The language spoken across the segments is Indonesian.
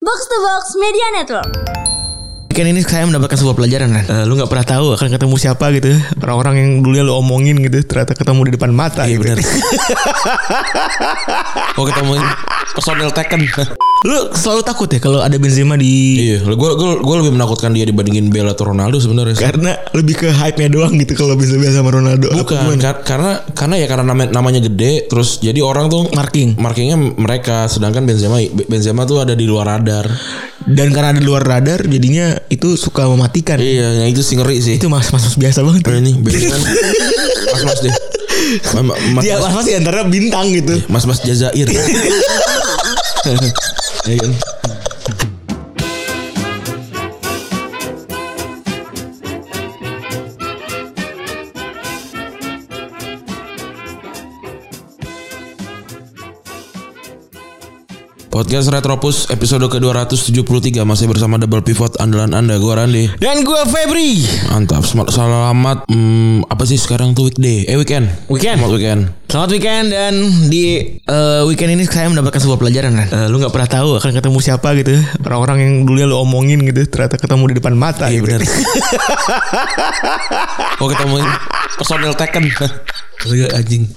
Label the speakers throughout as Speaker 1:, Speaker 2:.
Speaker 1: Box to Box Media Network.
Speaker 2: Weekend Kan ini saya mendapatkan sebuah pelajaran kan. lu nggak pernah tahu akan ketemu siapa gitu. Orang-orang yang dulunya lu omongin gitu ternyata ketemu di depan mata
Speaker 3: Iya
Speaker 2: gitu.
Speaker 3: benar. Mau ketemu personil Tekken.
Speaker 2: Lu selalu takut ya kalau ada Benzema di
Speaker 3: iya, gue gue gue lebih menakutkan dia dibandingin Bella atau Ronaldo sebenarnya. sih.
Speaker 2: karena lebih ke hype-nya doang gitu kalau Benzema sama Ronaldo. Apa
Speaker 3: Bukan
Speaker 2: gimana?
Speaker 3: kar- karena karena ya karena nama- namanya gede terus jadi orang tuh
Speaker 2: marking.
Speaker 3: markingnya mereka sedangkan Benzema Benzema tuh ada di luar radar.
Speaker 2: Dan karena ada di luar radar jadinya itu suka mematikan.
Speaker 3: Iya, yang itu sih ngeri sih.
Speaker 2: Itu mas-mas biasa banget.
Speaker 3: Eh, ini Benzema. Mas-mas deh. Ma- ma- Mas
Speaker 2: Dia mas-mas di antara bintang gitu.
Speaker 3: mas-mas Jazair. Iya kan? Podcast Retropus episode ke-273 masih bersama Double Pivot andalan Anda gua Randi.
Speaker 2: Dan gua Febri.
Speaker 3: Mantap. Selamat selamat hmm, apa sih sekarang tuh weekday? Eh weekend.
Speaker 2: Weekend.
Speaker 3: Selamat weekend.
Speaker 2: Selamat weekend dan di eh, weekend ini saya mendapatkan sebuah pelajaran kan. Eh, lu nggak pernah tahu akan ketemu siapa gitu. Orang-orang yang dulunya lu omongin gitu ternyata ketemu di depan mata.
Speaker 3: Iya
Speaker 2: gitu.
Speaker 3: benar. Mau ketemu personil Tekken. Terus gue anjing.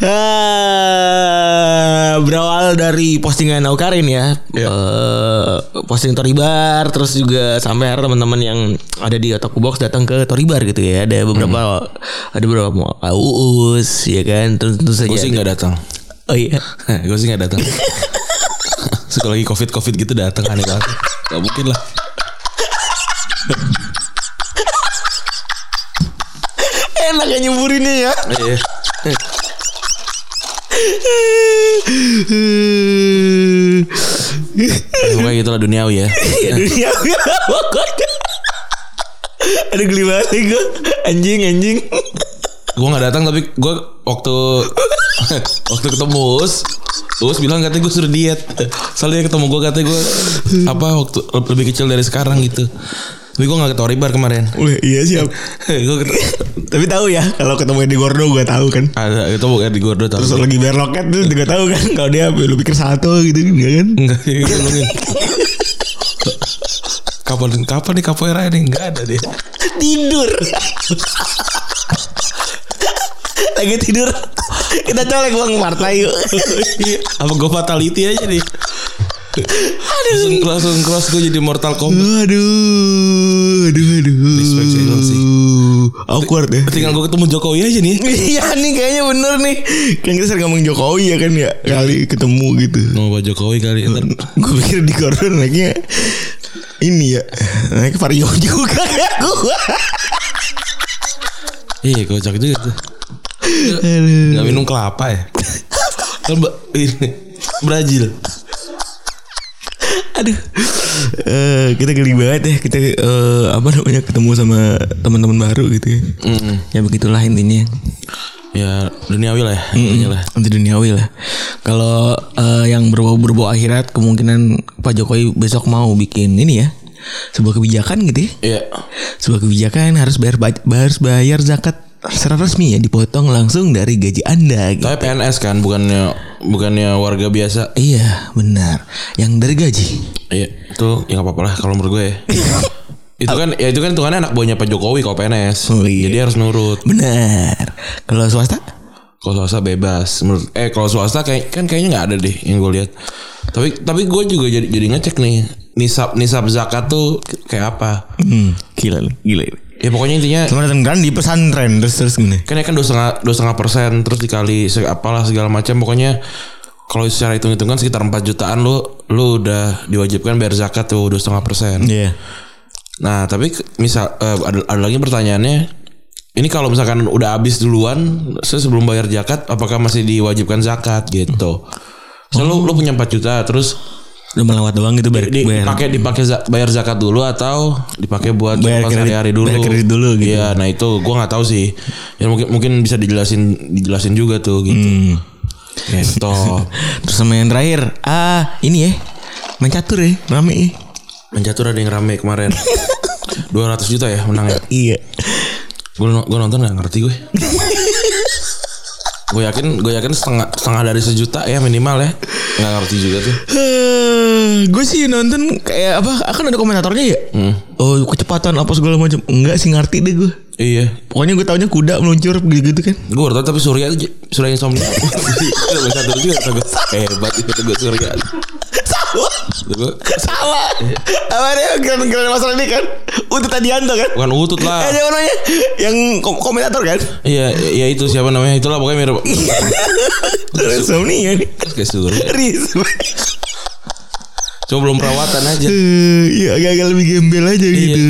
Speaker 2: Ah, berawal dari postingan Aukarin ya. Eh, posting Toribar terus juga sampai akhirnya teman-teman yang ada di Otaku Box datang ke Toribar gitu ya. Ada beberapa ada beberapa mau Uus ya kan. Terus tentu saja.
Speaker 3: Gue sih nggak datang.
Speaker 2: Oh iya.
Speaker 3: gue iya. Eh, sih nggak datang. Suka lagi covid covid gitu datang aneh banget. Gak mungkin lah.
Speaker 2: Enak ya nyemburinnya ya.
Speaker 3: Iya. Pokoknya gitu lah duniawi ya.
Speaker 2: Ya dunia pokoknya. Ada geli banget nih gue Anjing anjing
Speaker 3: Gue nggak datang tapi gue waktu waktu ketemu Us, Us bilang katanya gue suruh diet. Soalnya dia ketemu gue katanya gue apa waktu lebih kecil dari sekarang gitu. Tapi gue nggak ke Toribar kemarin.
Speaker 2: Wih iya siap
Speaker 3: gue ketemu
Speaker 2: Tapi tahu ya Kalau ketemu di Gordo gue tahu kan
Speaker 3: ada itu bukan di Gordo tapi
Speaker 2: Terus lagi bayar loket tuh juga tahu kan Kalau dia lu pikir satu gitu enggak kan
Speaker 3: enggak dia ngomongin. kapan kapan nih capoeira ini enggak ada dia.
Speaker 2: Tidur Lagi tidur Kita colek bang partai yuk
Speaker 3: apa gue fatality aja nih. Langsung, langsung cross gue jadi Mortal Kombat.
Speaker 2: Aduh Aduh aduh
Speaker 3: Respect sih, emang sih.
Speaker 2: Awkward ya
Speaker 3: Tinggal gue ketemu Jokowi aja nih.
Speaker 2: Iya nih kayaknya bener nih Kan kita sering ngomong Jokowi ya kan ya Kali ketemu gitu
Speaker 3: Mau Pak Jokowi kali. ntar.
Speaker 2: Gue pikir di koridor naiknya Ini ya Naik vario juga ya gue
Speaker 3: Iya kocak juga tuh. Gak minum kelapa ya. Kan ba- ini Brazil.
Speaker 2: Aduh Eh, Kita geli banget ya Kita eh, apa namanya ketemu sama teman-teman baru gitu ya Ya begitulah intinya
Speaker 3: Ya duniawi lah ya. intinya lah.
Speaker 2: Anti duniawi lah Kalau eh, yang berbau-berbau akhirat Kemungkinan Pak Jokowi besok mau bikin ini ya Sebuah kebijakan gitu ya
Speaker 3: Iya.
Speaker 2: Sebuah kebijakan harus bayar ba- harus bayar zakat secara resmi ya dipotong langsung dari gaji Anda gitu.
Speaker 3: Tapi PNS kan bukannya bukannya warga biasa.
Speaker 2: Iya, benar. Yang dari gaji.
Speaker 3: Iya, itu ya nggak apa-apa lah kalau menurut gue ya. itu kan ya itu kan hitungannya anak buahnya Pak Jokowi kalau PNS.
Speaker 2: Oh, iya.
Speaker 3: Jadi harus nurut.
Speaker 2: Benar. Kalau swasta?
Speaker 3: Kalau swasta bebas. Menurut eh kalau swasta kayak kan kayaknya nggak ada deh yang gue lihat. Tapi tapi gue juga jadi jadi ngecek nih nisab nisab zakat tuh kayak apa.
Speaker 2: Hmm, gila lu, gila. lu.
Speaker 3: Ya pokoknya intinya
Speaker 2: Cuma datang kan di pesantren terus terus gini.
Speaker 3: kan ya kan dua setengah dua setengah persen terus dikali se- apalah segala macam pokoknya kalau secara hitung hitungan sekitar 4 jutaan lu lu udah diwajibkan bayar zakat tuh dua setengah persen
Speaker 2: Iya.
Speaker 3: nah tapi ke- misal eh, ada, ada lagi pertanyaannya ini kalau misalkan udah habis duluan se- sebelum bayar zakat apakah masih diwajibkan zakat gitu so lu, lu punya 4 juta terus
Speaker 2: Lu melewat doang gitu bayar
Speaker 3: di-
Speaker 2: bayar.
Speaker 3: dipakai dipakai za- bayar zakat dulu atau dipakai buat
Speaker 2: Bayar
Speaker 3: pas
Speaker 2: kredit-
Speaker 3: hari-hari dulu.
Speaker 2: bayar kredit dulu gitu.
Speaker 3: Iya, nah itu gua nggak tahu sih. Ya mungkin mungkin bisa dijelasin dijelasin juga tuh
Speaker 2: Hmm.
Speaker 3: gitu. Gitu.
Speaker 2: Terus sama yang terakhir, ah ini ya. Main catur ya, rame ya.
Speaker 3: Mencatur ada yang rame kemarin. 200 juta ya menang ya.
Speaker 2: Iya.
Speaker 3: Gue gua nonton nggak ngerti gue. gue yakin gue yakin setengah setengah dari sejuta ya minimal ya. Nggak ngerti juga tuh.
Speaker 2: gue sih nonton kayak apa? Akan ada komentatornya ya? Oh kecepatan apa segala macam? Enggak sih ngerti deh gue.
Speaker 3: Iya.
Speaker 2: Pokoknya gue taunya kuda meluncur gitu-gitu kan.
Speaker 3: Gue baru tau tapi Surya itu Surya Insomnia. Udah bahasa Turki udah tau gue. Hebat itu gue Surya.
Speaker 2: Salah.
Speaker 3: Kata Gue
Speaker 2: Salah. Apa dia keren-keren masalah ini kan? Untuk Tadianto kan?
Speaker 3: bukan utut lah.
Speaker 2: Eh, dia namanya yang kom- komentator kan?
Speaker 3: Iya, ya itu siapa namanya? Itulah pokoknya mirip
Speaker 2: Insomnia nih. ya.
Speaker 3: kayak Surya.
Speaker 2: Respect.
Speaker 3: Cuma belum perawatan aja.
Speaker 2: Eh, Iya agak-agak lebih gembel aja gitu.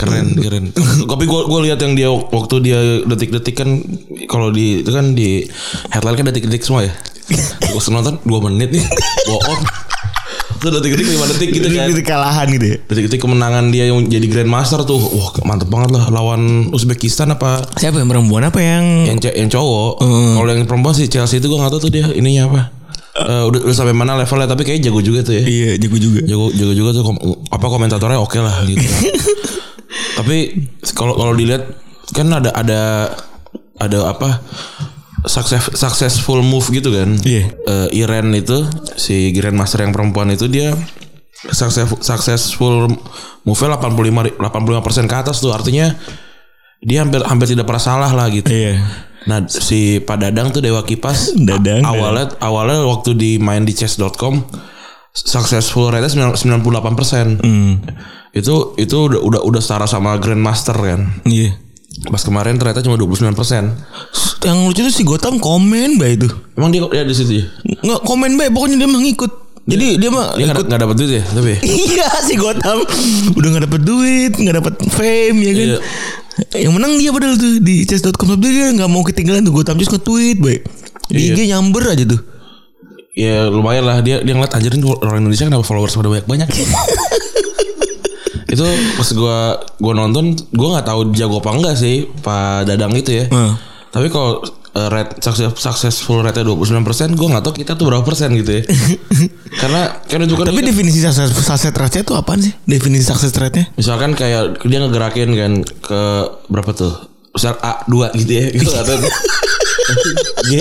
Speaker 3: Keren, keren. Tapi gue gue lihat yang dia wak- waktu dia detik-detik kan kalau di itu kan di headline kan detik-detik semua ya. Gue nonton 2 menit nih. Bohong. Itu detik-detik 5 detik gitu kan.
Speaker 2: Itu kalahan gitu ya.
Speaker 3: Detik-detik kemenangan dia yang jadi grandmaster tuh. Wah, mantep banget lah lawan Uzbekistan apa
Speaker 2: Siapa yang perempuan apa yang
Speaker 3: yang ce- yang cowok. Kalau yang perempuan sih Chelsea itu gue gak tahu tuh dia ininya apa. Hmm. Eh, udah, udah sampai mana levelnya tapi kayaknya jago juga tuh ya.
Speaker 2: Iya, jago juga.
Speaker 3: jago jago juga tuh kom- apa komentatornya oke lah gitu tapi kalau kalau dilihat kan ada ada ada apa success, successful move gitu kan
Speaker 2: Iya.
Speaker 3: Eh, Iren itu si grandmaster yang perempuan itu dia success, successful move-nya 85 85% ke atas tuh artinya dia hampir hampir tidak pernah salah lah gitu
Speaker 2: Iya.
Speaker 3: Nah si Pak Dadang tuh Dewa Kipas
Speaker 2: Dadang,
Speaker 3: Awalnya awalnya waktu di main di chess.com Successful rate 98% Itu itu udah, udah udah setara sama Grandmaster kan
Speaker 2: Iya.
Speaker 3: Pas kemarin ternyata cuma 29%
Speaker 2: Yang lucu tuh si Gotam komen baik itu.
Speaker 3: Emang dia dia di situ ya?
Speaker 2: Nggak komen baik pokoknya dia mah ngikut. Jadi dia mah
Speaker 3: Dia nggak nggak dapat duit ya tapi
Speaker 2: Iya si Gotam udah nggak dapet duit, nggak dapet fame ya kan.
Speaker 3: Iya.
Speaker 2: Yang menang dia padahal tuh di chess.com tapi dia nggak mau ketinggalan tuh Gotam just nge-tweet baik. Di
Speaker 3: Iya.
Speaker 2: IG nyamber aja tuh.
Speaker 3: Ya lumayan lah dia dia ngeliat anjir ini orang Indonesia kenapa followers pada banyak banyak itu pas gua gua nonton gua nggak tahu jago apa enggak sih Pak Dadang itu ya
Speaker 2: Hmm.
Speaker 3: tapi kalau eh, rate success, successful rate nya 29 persen gua nggak tahu kita tuh berapa persen gitu ya karena kan itu kan
Speaker 2: Tapi definisi sukses sukses rate itu apaan sih? Definisi sukses rate-nya?
Speaker 3: misalkan kayak dia ngegerakin kan ke berapa tuh besar A 2 gitu ya gua nggak tahu tuh. G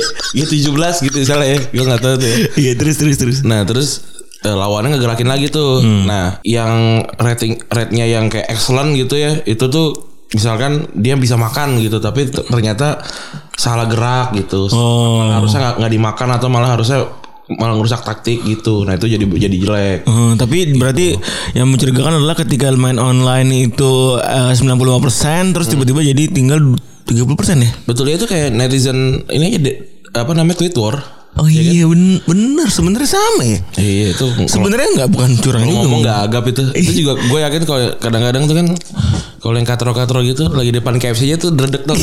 Speaker 3: G17 gitu misalnya ya gua nggak tahu tuh ya.
Speaker 2: Iya terus terus terus.
Speaker 3: Nah terus eh, lawannya ngegerakin lagi tuh.
Speaker 2: Hmm.
Speaker 3: Nah yang rating rate-nya yang kayak excellent gitu ya itu tuh misalkan dia bisa makan gitu tapi t- ternyata salah gerak gitu.
Speaker 2: Oh.
Speaker 3: Harusnya nggak nggak dimakan atau malah harusnya malah ngerusak taktik gitu. Nah itu jadi jadi jelek.
Speaker 2: Hmm, tapi berarti yang mencurigakan adalah ketika main online itu eh, 95% terus tiba-tiba jadi tinggal 30% ya?
Speaker 3: Betulnya itu kayak netizen ini aja de- apa namanya tweet war.
Speaker 2: Oh iya ben- bener sebenarnya sama ya.
Speaker 3: Iya itu
Speaker 2: Sebenarnya nggak bukan curang
Speaker 3: Lu
Speaker 2: juga.
Speaker 3: ngomong nggak agap itu itu juga gue yakin kalau kadang-kadang tuh kan kalau yang katro-katro gitu lagi depan KFC nya tuh dredek tuh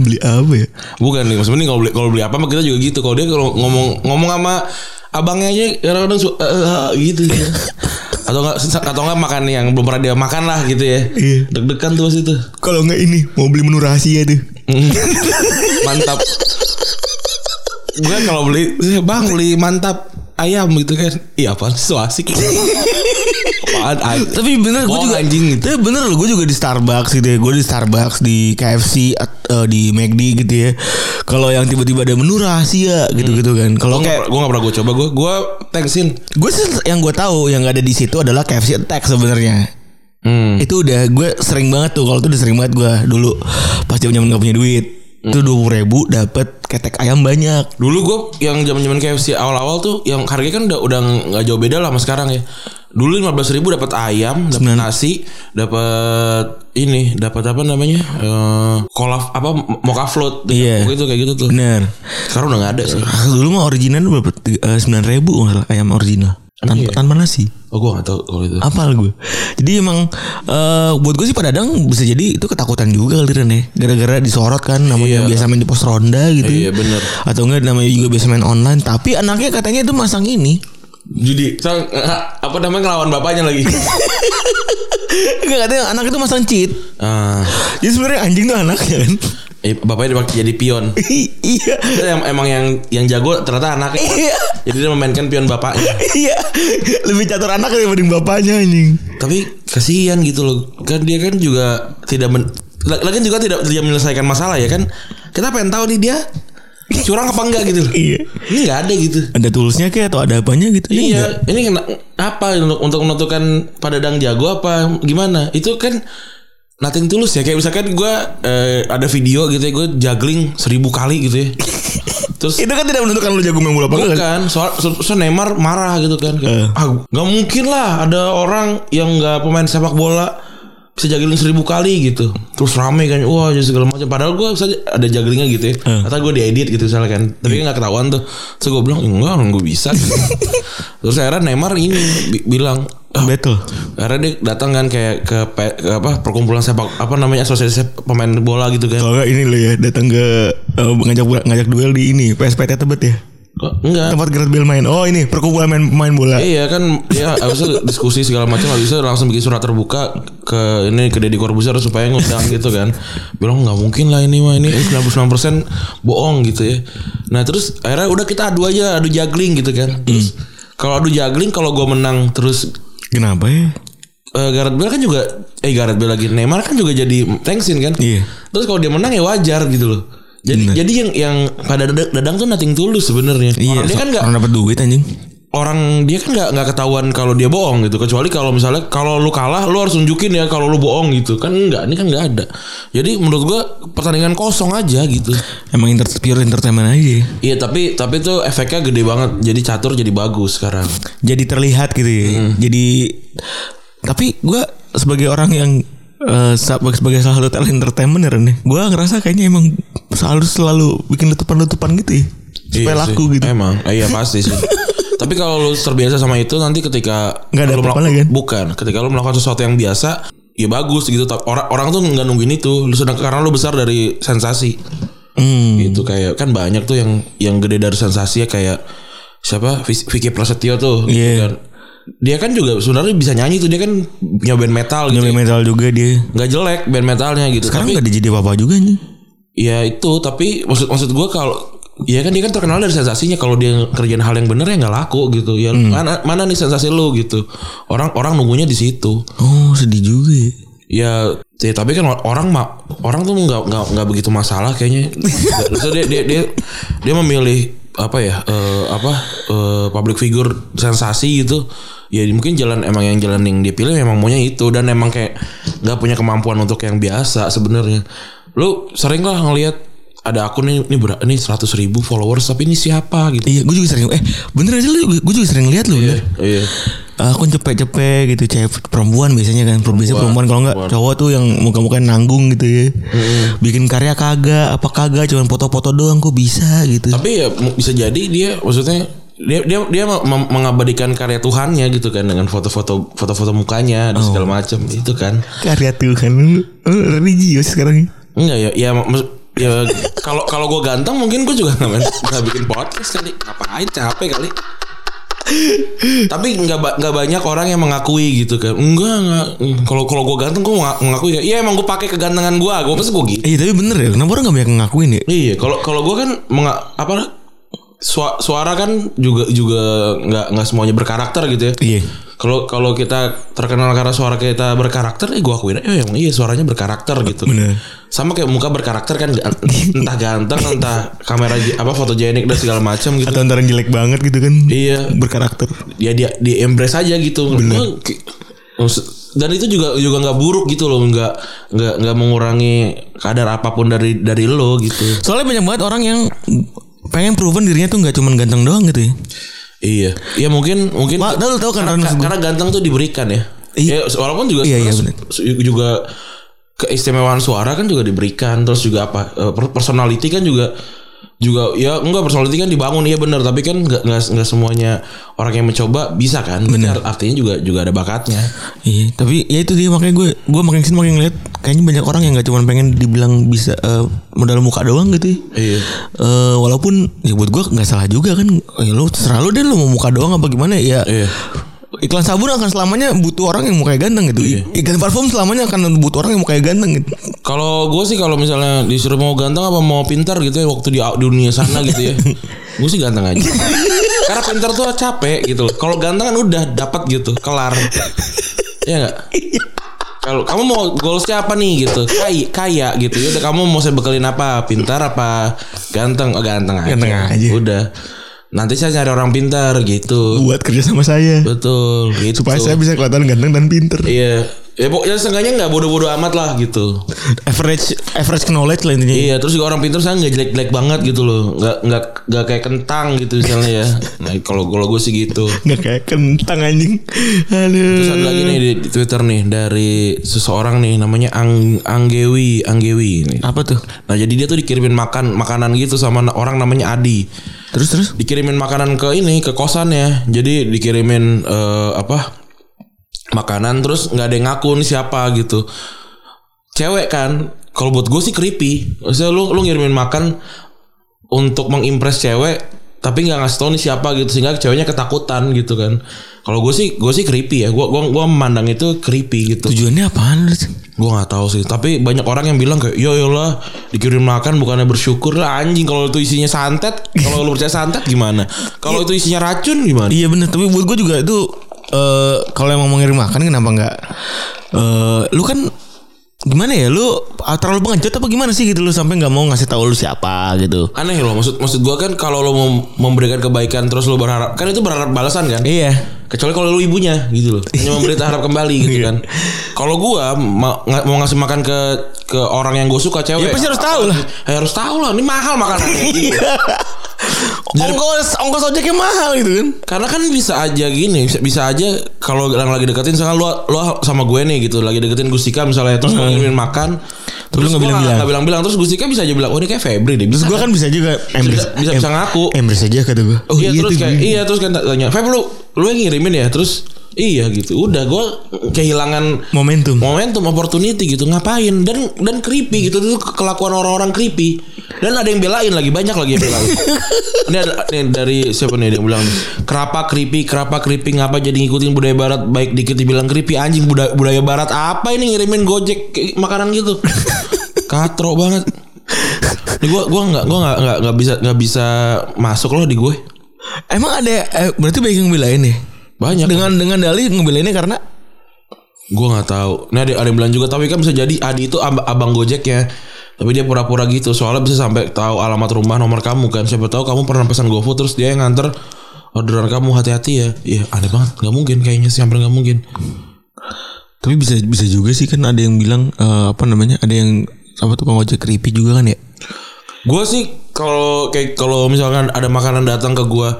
Speaker 2: Beli apa ya?
Speaker 3: bukan nih maksudnya nih kalau beli kalau beli apa mah kita juga gitu kalau dia kalau ngomong ngomong sama abangnya aja kadang-kadang su- eh, eh, gitu ya. atau enggak atau enggak makan yang belum pernah dia makan lah gitu ya
Speaker 2: Iya.
Speaker 3: deg-degan tuh pas itu
Speaker 2: Kalau nggak ini mau beli menu rahasia tuh.
Speaker 3: mantap gue kalau beli eh, bang beli mantap ayam gitu kan iya apaan sih so asik apaan ay-
Speaker 2: Nah, Tapi bener gue
Speaker 3: Bohong,
Speaker 2: juga
Speaker 3: anjing gitu.
Speaker 2: Tapi bener loh gue juga di Starbucks gitu ya. Gue di Starbucks, di KFC, at- eh, di McD gitu ya. Kalau yang tiba-tiba ada menu rahasia gitu-gitu kan. Kalau
Speaker 3: Gue
Speaker 2: kayak
Speaker 3: gak, pernah gue coba gue gue thanksin
Speaker 2: Gue sih yang gue tahu yang gak ada di situ adalah KFC Attack sebenarnya.
Speaker 3: Hmm.
Speaker 2: Itu udah gue sering banget tuh kalau itu udah sering banget gue dulu pas zaman zaman gak punya duit.
Speaker 3: Hmm.
Speaker 2: Itu dua puluh ribu dapat ketek ayam banyak.
Speaker 3: Dulu gue yang zaman zaman KFC awal-awal tuh yang harganya kan udah udah nggak jauh beda lah sama sekarang ya. Dulu lima belas ribu dapat ayam, dapat
Speaker 2: Sembilan.
Speaker 3: nasi, dapat ini, dapat apa namanya eh kolaf apa mocha float,
Speaker 2: Iya.
Speaker 3: gitu kayak gitu tuh.
Speaker 2: Bener.
Speaker 3: Sekarang udah nggak ada sih.
Speaker 2: Ah, Dulu mah original berapa? eh, Sembilan ribu ayam original. Tanpa, tanpa nasi.
Speaker 3: Oh gue nggak tahu kalau itu.
Speaker 2: Apal gue. Jadi emang eh, buat gue sih pada kadang bisa jadi itu ketakutan juga kali Ren, ya. Gara-gara disorot kan namanya
Speaker 3: Iya.
Speaker 2: biasa main di pos ronda gitu.
Speaker 3: Iya, bener.
Speaker 2: Atau enggak namanya juga biasa main online. Tapi anaknya katanya itu masang ini
Speaker 3: Jadi sekarang eh, apa namanya ngelawan bapaknya lagi.
Speaker 2: Enggak katanya anak itu masang cheat.
Speaker 3: Ah,
Speaker 2: Jadi sebenarnya anjing tuh anaknya kan.
Speaker 3: eh, bapaknya dipakai jadi pion.
Speaker 2: I- iya.
Speaker 3: Em- Emang yang yang jago ternyata anaknya.
Speaker 2: Iya.
Speaker 3: Jadi dia memainkan pion bapaknya.
Speaker 2: Iya. Lebih catur anak dibanding bapaknya anjing.
Speaker 3: tapi kasihan gitu loh kan dia kan juga tidak men lagi juga tidak tidak menyelesaikan masalah ya kan kita pengen kan? tahu nih dia curang apa enggak gitu
Speaker 2: Iya.
Speaker 3: ini nggak ada gitu
Speaker 2: Ada toolsnya kayak atau ada apanya gitu? Ini enggak.
Speaker 3: Iya, ini kena, apa untuk menentukan padadang jago apa gimana? Itu kan nothing tulus ya. Kayak misalkan gua eh, ada video gitu ya, gue juggling seribu kali gitu ya. Terus
Speaker 2: Itu kan tidak menentukan lu jago main bola apa enggak. kan?
Speaker 3: bukan soal so, so Neymar marah gitu kan.
Speaker 2: Eh.
Speaker 3: Kayak, ah, nggak mungkin lah ada orang yang nggak pemain sepak bola bisa juggling seribu kali gitu. Terus rame kan, wah jadi segala macam. Padahal gue saja ada jugglingnya gitu ya.
Speaker 2: Eh. Iya.
Speaker 3: Atau gue diedit gitu misalnya kan. Tapi kan nggak ketahuan tuh. Terus gue bilang enggak, orang gue bisa. gitu." Terus akhirnya Neymar ini bi- bilang, "Ah,
Speaker 2: Betul.
Speaker 3: akhirnya dia datang kan kayak ke, pe- ke apa perkumpulan sepak apa namanya asosiasi sep- pemain bola gitu kan.
Speaker 2: Kalau enggak ini lo ya datang ke eh, ngajak ngajak duel di ini PSPT Tebet ya.
Speaker 3: Kok enggak?
Speaker 2: Tempat Gareth Bale main. Oh ini perkumpulan main, main bola.
Speaker 3: Ah. Iya kan ya abis itu diskusi segala macam abis itu langsung bikin surat terbuka ke ini ke Deddy Corbuzier supaya ngundang gitu kan. Bilang nggak mungkin lah ini mah ini 99% bohong gitu ya. Nah terus akhirnya udah kita adu aja adu juggling gitu kan. Terus kalau adu juggling kalau gue menang terus
Speaker 2: Kenapa ya?
Speaker 3: eh, Gareth Bale kan juga eh Gareth Bale lagi Neymar kan juga jadi thanksin kan.
Speaker 2: Iya.
Speaker 3: Terus kalau dia menang ya wajar gitu loh. Jadi
Speaker 2: Bener.
Speaker 3: jadi yang yang pada dadang, dadang tuh nothing tulus sebenarnya. Orang dia kan nggak
Speaker 2: Iya. orang dapat duit anjing.
Speaker 3: orang dia kan nggak nggak ketahuan kalau dia bohong gitu kecuali kalau misalnya kalau lu kalah lu harus nunjukin ya kalau lu bohong gitu kan enggak ini kan nggak ada jadi menurut gua pertandingan kosong aja gitu
Speaker 2: Emang inter pure entertainment aja. ya.
Speaker 3: iya tapi tapi tuh efeknya gede banget jadi catur jadi bagus sekarang
Speaker 2: Jadi terlihat gitu ya. Jadi tapi gue sebagai orang yang eh, sa- sebagai salah satu talent entertainer nih, gue ngerasa kayaknya emang selalu selalu bikin letupan-letupan gitu ya. Supaya
Speaker 3: Iya
Speaker 2: laku
Speaker 3: sih.
Speaker 2: gitu.
Speaker 3: emang Eh, iya pasti sih tapi kalau lu terbiasa sama itu nanti ketika
Speaker 2: Nggak ada
Speaker 3: lu
Speaker 2: apa-apa
Speaker 3: melaku-
Speaker 2: lagi kan?
Speaker 3: bukan ketika lu melakukan sesuatu yang biasa ya bagus gitu Tapi orang orang tuh nggak nungguin itu lu sedang karena lu besar dari sensasi
Speaker 2: Hmm.
Speaker 3: gitu kayak kan banyak tuh yang yang gede dari sensasi ya kayak siapa Vis- Vicky Prasetyo tuh gitu
Speaker 2: Iya.
Speaker 3: kan. dia kan juga sebenarnya bisa nyanyi tuh dia kan punya band metal gitu
Speaker 2: Nyampe
Speaker 3: ya.
Speaker 2: metal juga dia.
Speaker 3: nggak jelek band metalnya gitu
Speaker 2: Sekarang
Speaker 3: tapi
Speaker 2: nggak ada jadi apa-apa juga nih.
Speaker 3: ya itu tapi maksud maksud gue kalau ya kan dia kan terkenal dari sensasinya kalau dia kerjaan hal yang bener ya nggak laku gitu ya
Speaker 2: Hmm.
Speaker 3: mana mana nih sensasi lu gitu orang orang nunggunya di situ
Speaker 2: Oh sedih juga ya.
Speaker 3: Ya, ya, tapi kan orang ma- orang tuh nggak nggak nggak begitu masalah kayaknya. Terus dia dia dia dia memilih apa ya eh, apa eh, public figure sensasi gitu. Ya mungkin jalan emang yang jalan yang dia pilih memang maunya itu dan emang kayak nggak punya kemampuan untuk yang biasa sebenarnya. Lu sering lah ngelihat ada akun nih ini ber ini seratus ribu followers tapi ini siapa gitu.
Speaker 2: Iya gue juga sering Eh bener aja lu Gue juga sering lihat lu bener
Speaker 3: Iya.
Speaker 2: Ah, Aku cepet-cepet gitu cewek perempuan biasanya kan biasanya perempuan kalau nggak
Speaker 3: perempuan.
Speaker 2: cowok tuh yang muka-muka nanggung gitu ya bikin karya kagak apa kagak cuman foto-foto doang kok bisa gitu
Speaker 3: Tapi ya m- bisa jadi dia maksudnya dia dia dia mem- mengabadikan karya Tuhannya gitu kan dengan foto-foto foto-foto mukanya dan segala macam itu kan.
Speaker 2: karya Tuhan lu lu religius sekarang
Speaker 3: Enggak ya ya maksud- ya kalau kalau gue ganteng mungkin gue juga nggak main- nggak bikin podcast kali ngapain capek kali tapi nggak ba- nggak banyak orang yang mengakui gitu kan enggak enggak kalau kalau gue ganteng gue nggak mengakui kayak, iya emang gue pakai kegantengan gue gue pasti gue gitu
Speaker 2: iya tapi bener ya kenapa orang nggak banyak ngakuin ya
Speaker 3: Iya, kalau kalau gue kan menga, apa sua- suara kan juga juga nggak nggak semuanya berkarakter gitu ya.
Speaker 2: Iya.
Speaker 3: Kalau kalau kita terkenal karena suara kita berkarakter, eh gue akuin, eh emang iya suaranya berkarakter gitu.
Speaker 2: Bener.
Speaker 3: Sama kayak muka berkarakter kan ga- entah ganteng, entah kamera j- apa fotogenik dan segala macam gitu.
Speaker 2: atau antara jelek banget gitu kan
Speaker 3: Iya.
Speaker 2: berkarakter
Speaker 3: Ya dia di embrace aja gitu. Gua ki- Dan itu juga juga nggak buruk gitu loh, nggak nggak nggak mengurangi kadar apapun dari dari lo gitu.
Speaker 2: soalnya banyak banget orang yang pengen proven dirinya tuh nggak cuman ganteng doang gitu ya
Speaker 3: Iya, ya mungkin mungkin
Speaker 2: Wah, tahu tahu kan
Speaker 3: karena,
Speaker 2: Ron?
Speaker 3: karena ganteng tuh diberikan ya.
Speaker 2: Iya.
Speaker 3: Ya, walaupun juga
Speaker 2: Iya, iya,
Speaker 3: sebenarnya su- juga keistimewaan suara kan juga diberikan, terus juga apa eh, per- personality kan juga juga ya enggak personality kan dibangun iya benar tapi kan enggak enggak, enggak semuanya orang yang mencoba bisa kan benar artinya juga juga ada bakatnya
Speaker 2: Iya, tapi ya itu dia makanya gue gue makin kesini makin ngeliat kayaknya banyak orang yang nggak cuma pengen dibilang bisa eh, modal muka doang gitu. Ya.
Speaker 3: Iya.
Speaker 2: Eh, walaupun ya buat gue nggak salah juga kan. Ya lu selalu deh lu mau muka doang apa gimana ya.
Speaker 3: Iya.
Speaker 2: Iklan sabun akan selamanya butuh orang yang mukanya ganteng gitu.
Speaker 3: Iya.
Speaker 2: I- Iklan parfum selamanya akan butuh orang yang mukanya ganteng gitu.
Speaker 3: kalau gue sih kalau misalnya disuruh mau ganteng apa mau pintar gitu ya waktu di di dunia sana gitu ya gue sih ganteng aja karena pintar tuh capek gitu loh kalau ganteng kan udah dapat gitu kelar ya nggak Iya kalau kamu mau goalsnya apa nih gitu kaya kaya gitu ya kamu mau saya bekelin apa pintar apa ganteng oh, ganteng aja
Speaker 2: Ganteng aja. Uh.
Speaker 3: udah nanti saya cari orang pintar gitu
Speaker 4: buat kerja sama saya
Speaker 3: betul gitu.
Speaker 4: supaya saya bisa kelihatan ganteng dan pinter
Speaker 3: iya ya pokoknya seenggaknya nggak bodoh-bodoh amat lah gitu
Speaker 2: average average knowledge lah intinya
Speaker 3: Iya, terus juga orang pintar saya nggak jelek-jelek banget gitu loh, nggak nggak nggak kayak kentang gitu misalnya ya. Nah kalau kalau gue sih gitu.
Speaker 4: nggak kayak kentang anjing aduh
Speaker 3: Terus ada lagi nih di, di Twitter nih dari seseorang nih namanya Ang Anggewi Anggewi ini.
Speaker 2: apa tuh
Speaker 3: Nah jadi dia tuh dikirimin makan makanan gitu sama na- orang namanya Adi.
Speaker 2: terus terus
Speaker 3: Dikirimin makanan ke ini ke kosannya. Jadi dikirimin eh, apa makanan terus nggak ada yang ngaku nih siapa gitu. Cewek kan. Kalau buat gue sih creepy. Maksudnya lu lu ngirimin makan untuk mengimpress cewek tapi nggak ngasih tau nih siapa gitu sehingga ceweknya ketakutan gitu kan. Kalau gue sih gue sih creepy ya. Gue gua gua memandang itu creepy gitu.
Speaker 2: tujuannya apaan lu?
Speaker 3: Gue nggak tahu sih, tapi banyak orang yang bilang kayak, yo yolah dikirim makan bukannya bersyukur lah anjing kalau itu isinya santet, kalau lu percaya santet gimana? Kalau itu isinya racun gimana?
Speaker 2: Iya bener Tapi buat gue juga itu eh Kalau emang mau ngirim makan Kenapa nggak eh Lu kan Gimana ya Lu terlalu pengecut apa gimana sih gitu Lu sampai nggak mau ngasih tahu lu siapa gitu
Speaker 3: Aneh loh, maksud maksud gua kan kalau lo mau memberikan kebaikan terus lo berharap, kan itu berharap balasan kan?
Speaker 2: Iya
Speaker 3: Kecuali kalau lu ibunya gitu loh. Hanya memberi harap kembali gitu kan. Kalau gua ma- nga- mau ngasih makan ke ke orang yang gue suka cewek.
Speaker 2: Ya pasti harus tahu lah. Iya.
Speaker 3: Ya, harus tahu lah, ini mahal makanannya. gitu.
Speaker 2: Ongkos Ongkos ojeknya mahal gitu kan
Speaker 3: Karena kan bisa aja gini, bisa, bisa aja kalau orang lagi deketin misalnya lu lu sama gue nih gitu, lagi deketin Gustika misalnya terus mm makan.
Speaker 2: Lu
Speaker 3: Terus
Speaker 2: nggak
Speaker 3: gua
Speaker 2: bilang-bilang.
Speaker 3: nggak bilang-bilang terus Gustika bisa aja bilang, "Oh, ini kayak Febri deh."
Speaker 2: Terus gue kan bisa juga
Speaker 3: bisa, bisa, bisa ngaku.
Speaker 2: Embrace aja kata gue
Speaker 3: Oh, iya, terus
Speaker 4: tuh
Speaker 3: kayak
Speaker 4: gue.
Speaker 3: iya terus kan tanya, "Feb lu lu yang ngirimin ya?" Terus iya gitu. Udah gue kehilangan
Speaker 2: Momentum
Speaker 3: momentum opportunity gitu ngapain dan dan creepy gitu itu kelakuan orang-orang creepy dan ada yang belain lagi banyak lagi yang belain ini ada ini dari siapa nih ada yang bilang kerapa creepy kerapa creepy ngapa jadi ngikutin budaya barat baik dikit dibilang creepy anjing budaya, budaya barat apa ini ngirimin gojek kayak makanan gitu katro banget ini gua gua nggak gua nggak nggak nggak bisa nggak bisa masuk loh di gue
Speaker 2: Emang ada eh, Berarti banyak yang belain ya
Speaker 3: banyak
Speaker 2: Dengan dengan dalih ngebelainnya karena
Speaker 3: Gue nggak tahu. Nah ada, ada yang bilang juga tapi kan bisa jadi Adi itu ab- abang Gojek ya. Tapi dia pura-pura gitu soalnya bisa sampai tahu alamat rumah nomor kamu kan. Siapa tahu kamu pernah pesan GoFood terus dia yang nganter orderan kamu hati-hati ya. Iya aneh banget. Gak mungkin kayaknya sih hampir gak mungkin.
Speaker 2: Tapi bisa bisa juga sih kan ada yang bilang eh, apa namanya ada yang apa tukang ojek creepy juga kan ya.
Speaker 3: Gue sih kalau kayak kalau misalkan ada makanan datang ke gue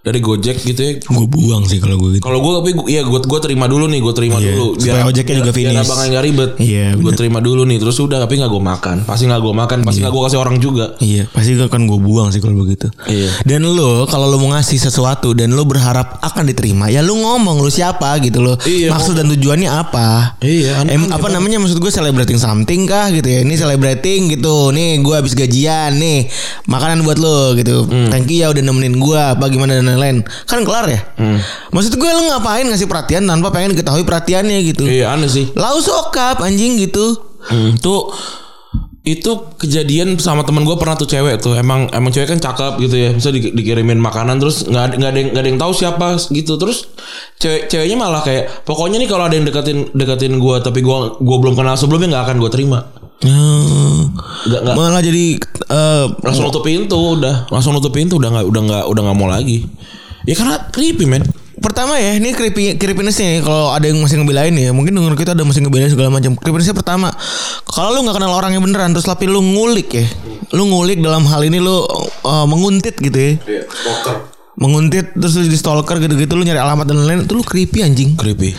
Speaker 3: dari Gojek gitu ya.
Speaker 2: Gue buang sih kalau gue gitu.
Speaker 3: Kalau gue tapi gua- iya gue gue terima dulu nih gue terima
Speaker 4: Iya,
Speaker 3: dulu
Speaker 4: supaya ojeknya juga
Speaker 3: biar
Speaker 4: finish.
Speaker 3: abangnya nggak ribet.
Speaker 4: Iya,
Speaker 3: gue terima dulu nih terus udah tapi nggak gue makan. Pasti nggak gue makan. Pasti nggak gue kasih orang juga.
Speaker 2: Iya, pasti kan gue buang sih kalau begitu.
Speaker 3: Iya.
Speaker 2: Dan lo kalau lo mau ngasih sesuatu dan lo berharap akan diterima, ya lo ngomong lo siapa gitu lo.
Speaker 3: Iya,
Speaker 2: Maksud dan tujuannya apa?
Speaker 3: Iya, aneh-
Speaker 2: Em, apa namanya maksud gue celebrating something kah gitu ya? Ini celebrating gitu. Nih gue habis gajian nih makanan buat lo gitu.
Speaker 3: Hmm.
Speaker 2: Thank you ya udah nemenin gue. Apa gimana dan lain-lain. Kan kelar ya.
Speaker 3: Hmm.
Speaker 2: Maksud gue lo ngapain ngasih perhatian tanpa pengen ketahui perhatiannya gitu?
Speaker 3: Iya aneh sih.
Speaker 2: Lau sokap anjing gitu.
Speaker 3: Hmm, tuh itu kejadian sama teman gue pernah tuh cewek tuh emang emang cewek kan cakep gitu ya bisa di- dikirimin makanan terus nggak ada nggak ada yang nggak ada yang tahu siapa gitu terus cewek ceweknya malah kayak pokoknya nih kalau ada yang deketin deketin gue tapi gue gua belum kenal sebelumnya nggak akan gue terima
Speaker 2: Hmm.
Speaker 3: nggak nggak
Speaker 2: Malah jadi eh,
Speaker 3: langsung nutup pintu udah langsung nutup pintu udah nggak udah nggak udah nggak mau lagi ya karena creepy men
Speaker 2: pertama ya ini creepy creepinessnya ya, kalau ada yang masih ngebelain ya mungkin denger kita ada masih ngebelain segala macam creepinessnya pertama kalau lu nggak kenal orangnya beneran terus tapi lu ngulik ya lu ngulik dalam hal ini lu eh, menguntit gitu ya menguntit terus lu jadi stalker gitu-gitu lu nyari alamat dan lain-lain itu lu creepy anjing
Speaker 3: creepy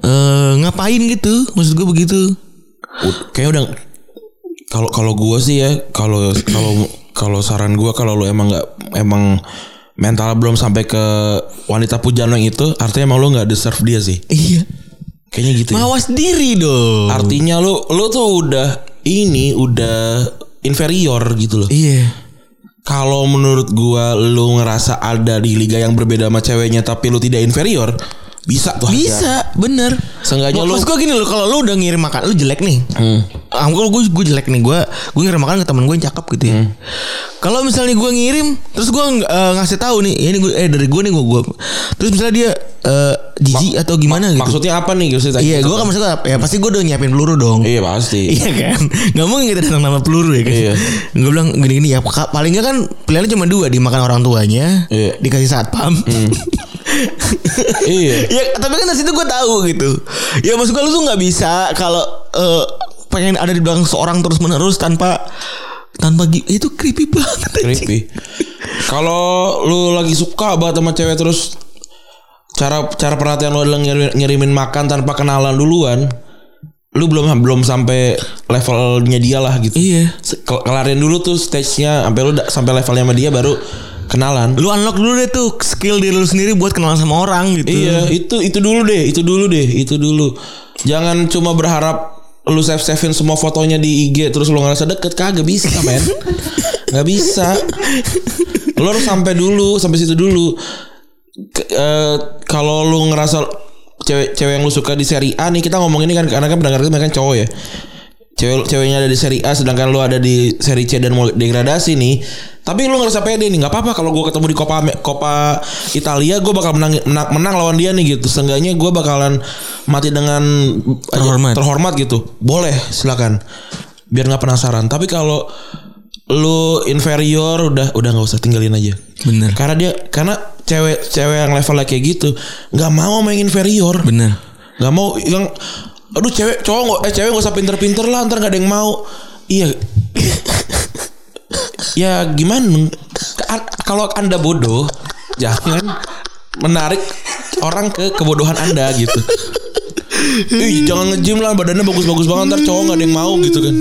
Speaker 2: Eh, ngapain gitu maksud gue begitu
Speaker 3: Ud- kayaknya udah kalau kalau gua sih ya kalau kalau kalau saran gua kalau lu emang nggak emang mental belum sampai ke wanita pujaan lo yang itu artinya emang lu nggak deserve dia sih
Speaker 2: iya
Speaker 3: kayaknya gitu ya.
Speaker 2: mawas diri dong
Speaker 3: artinya lu lu tuh udah ini udah inferior gitu loh
Speaker 2: iya
Speaker 3: kalau menurut gua lu ngerasa ada di liga yang berbeda sama ceweknya tapi lu tidak inferior Bisa tuh. harga.
Speaker 2: Bisa, bener.
Speaker 3: Seenggaknya lu-
Speaker 2: Maksud gue gini loh, kalau lu udah ngirim makan, lu jelek nih.
Speaker 3: Hmm.
Speaker 2: Ah, kalau gue gue jelek nih, gue gue ngirim makan ke temen gue yang cakep gitu ya.
Speaker 3: Hmm.
Speaker 2: Kalau misalnya gue ngirim, terus gue eh, ngasih tahu nih, ini gue eh dari gue nih gue gue. Terus misalnya dia eh, jijik atau gimana gitu.
Speaker 3: Maksudnya apa nih? Maksudnya-
Speaker 2: Iya, gue kan maksud gua, ya pasti gue udah nyiapin peluru dong.
Speaker 3: gitu Iya pasti.
Speaker 2: Iya kan Gak mungkin kita datang nama peluru ya kan
Speaker 3: Iya.
Speaker 2: Gue bilang gini-gini ya Kak, Paling gak kan pilihannya cuma dua Dimakan orang tuanya
Speaker 3: Iya.
Speaker 2: Dikasih satpam
Speaker 3: Iya.
Speaker 2: Ya, tapi kan dari situ gue tahu gitu Ya maksud gue lu tuh gak bisa Kalau eh, pengen ada di belakang seorang terus menerus Tanpa tanpa gi- itu creepy banget anjing.
Speaker 3: Creepy. Kalau lu lagi suka banget sama cewek terus cara cara perhatian lu adalah ngirimin, ngirimin makan tanpa kenalan duluan, lu belum belum sampai levelnya dia lah gitu.
Speaker 2: Iya.
Speaker 3: Se- kel- Kelarin dulu tuh stage-nya sampai lu da- sampai levelnya sama dia baru kenalan.
Speaker 2: Lu unlock dulu deh tuh skill diri lu sendiri buat kenalan sama orang gitu
Speaker 3: Iya, itu itu dulu deh, itu dulu deh, itu dulu. Jangan cuma berharap lu save savein semua fotonya di IG terus lu ngerasa deket kagak bisa men nggak bisa lu harus sampai dulu sampai situ dulu Ke- eh, kalau lu ngerasa cewek cewek yang lu suka di seri A nih kita ngomong ini kan karena kan pendengar itu kan cowok ya cewek ceweknya ada di seri A sedangkan lu ada di seri C dan mau degradasi nih tapi lu ngerasa pede nih nggak apa-apa kalau gue ketemu di Coppa Ame- Coppa Italia gue bakal menang, menang menang lawan dia nih gitu seenggaknya gue bakalan mati dengan
Speaker 2: Terhormat.
Speaker 3: terhormat gitu boleh silakan biar nggak penasaran tapi kalau lu inferior udah udah nggak usah tinggalin aja
Speaker 2: Bener.
Speaker 3: karena dia karena cewek cewek yang levelnya kayak gitu nggak mau main inferior
Speaker 2: Bener
Speaker 3: nggak mau yang aduh cewek cowok nggak- eh cewek nggak usah pinter-pinter lah ntar nggak ada yang mau iya ya gimana Ka- kalau anda bodoh jangan menarik orang ke kebodohan anda gitu Ih, jangan nge-gym lah badannya bagus-bagus banget ntar cowok nggak ada yang mau gitu kan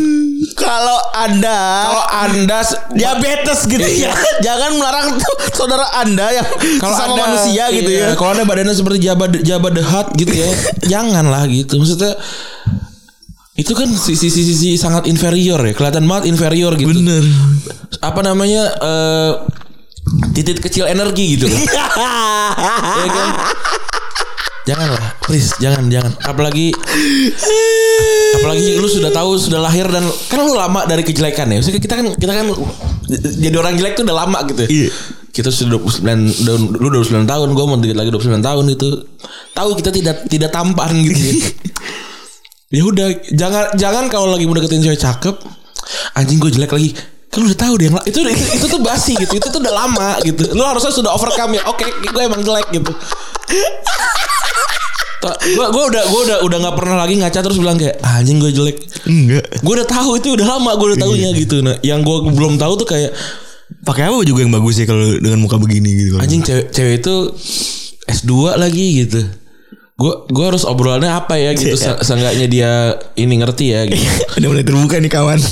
Speaker 2: Kalau ada
Speaker 3: kalau anda se-
Speaker 2: diabetes gitu ya. Jangan melarang tuh saudara Anda yang
Speaker 3: kalau
Speaker 2: sama
Speaker 3: Anda-
Speaker 2: manusia gitu
Speaker 3: iya,
Speaker 2: ya.
Speaker 3: Kalau ada badannya seperti Jabba Jabba the Hutt gitu ya, janganlah gitu. Maksudnya itu kan sisi sisi sisi sangat inferior ya, kelihatan banget inferior gitu.
Speaker 2: Bener.
Speaker 3: Apa namanya eh, titik kecil energi gitu. loh. ya kan? Janganlah, please, jangan, jangan. Apalagi, apalagi lu sudah tahu, sudah lahir dan kan lu lama dari kejelekan ya. Maksudnya kita kan, kita kan jadi orang jelek tuh udah lama gitu. ya.
Speaker 2: Iya.
Speaker 3: Kita sudah 29, udah, lu 29 tahun, gue mau dikit lagi 29 tahun gitu. Tahu kita tidak tidak tampan gitu. ya. ya udah, jangan jangan kalau lagi mau deketin cewek cakep, anjing gue jelek lagi. Kan lu udah tahu deh, yang la- itu, itu itu tuh basi gitu, itu tuh udah lama gitu. Lu harusnya sudah overcome ya. Oke, gue emang jelek gitu gue gua udah gua udah udah nggak pernah lagi ngaca terus bilang kayak "Ah, anjing gue jelek
Speaker 5: Enggak.
Speaker 3: gue udah tahu itu udah lama gue udah tahunya gitu nah yang gue belum tahu tuh kayak
Speaker 5: Pakai apa juga yang bagus sih kalau dengan muka begini gitu. Kalau-
Speaker 3: anjing cewek cewek itu S2 lagi gitu gue gua harus obrolannya apa ya gitu se- seenggaknya dia ini ngerti ya gitu
Speaker 2: Iya.
Speaker 5: Udah mulai terbuka nih kawan.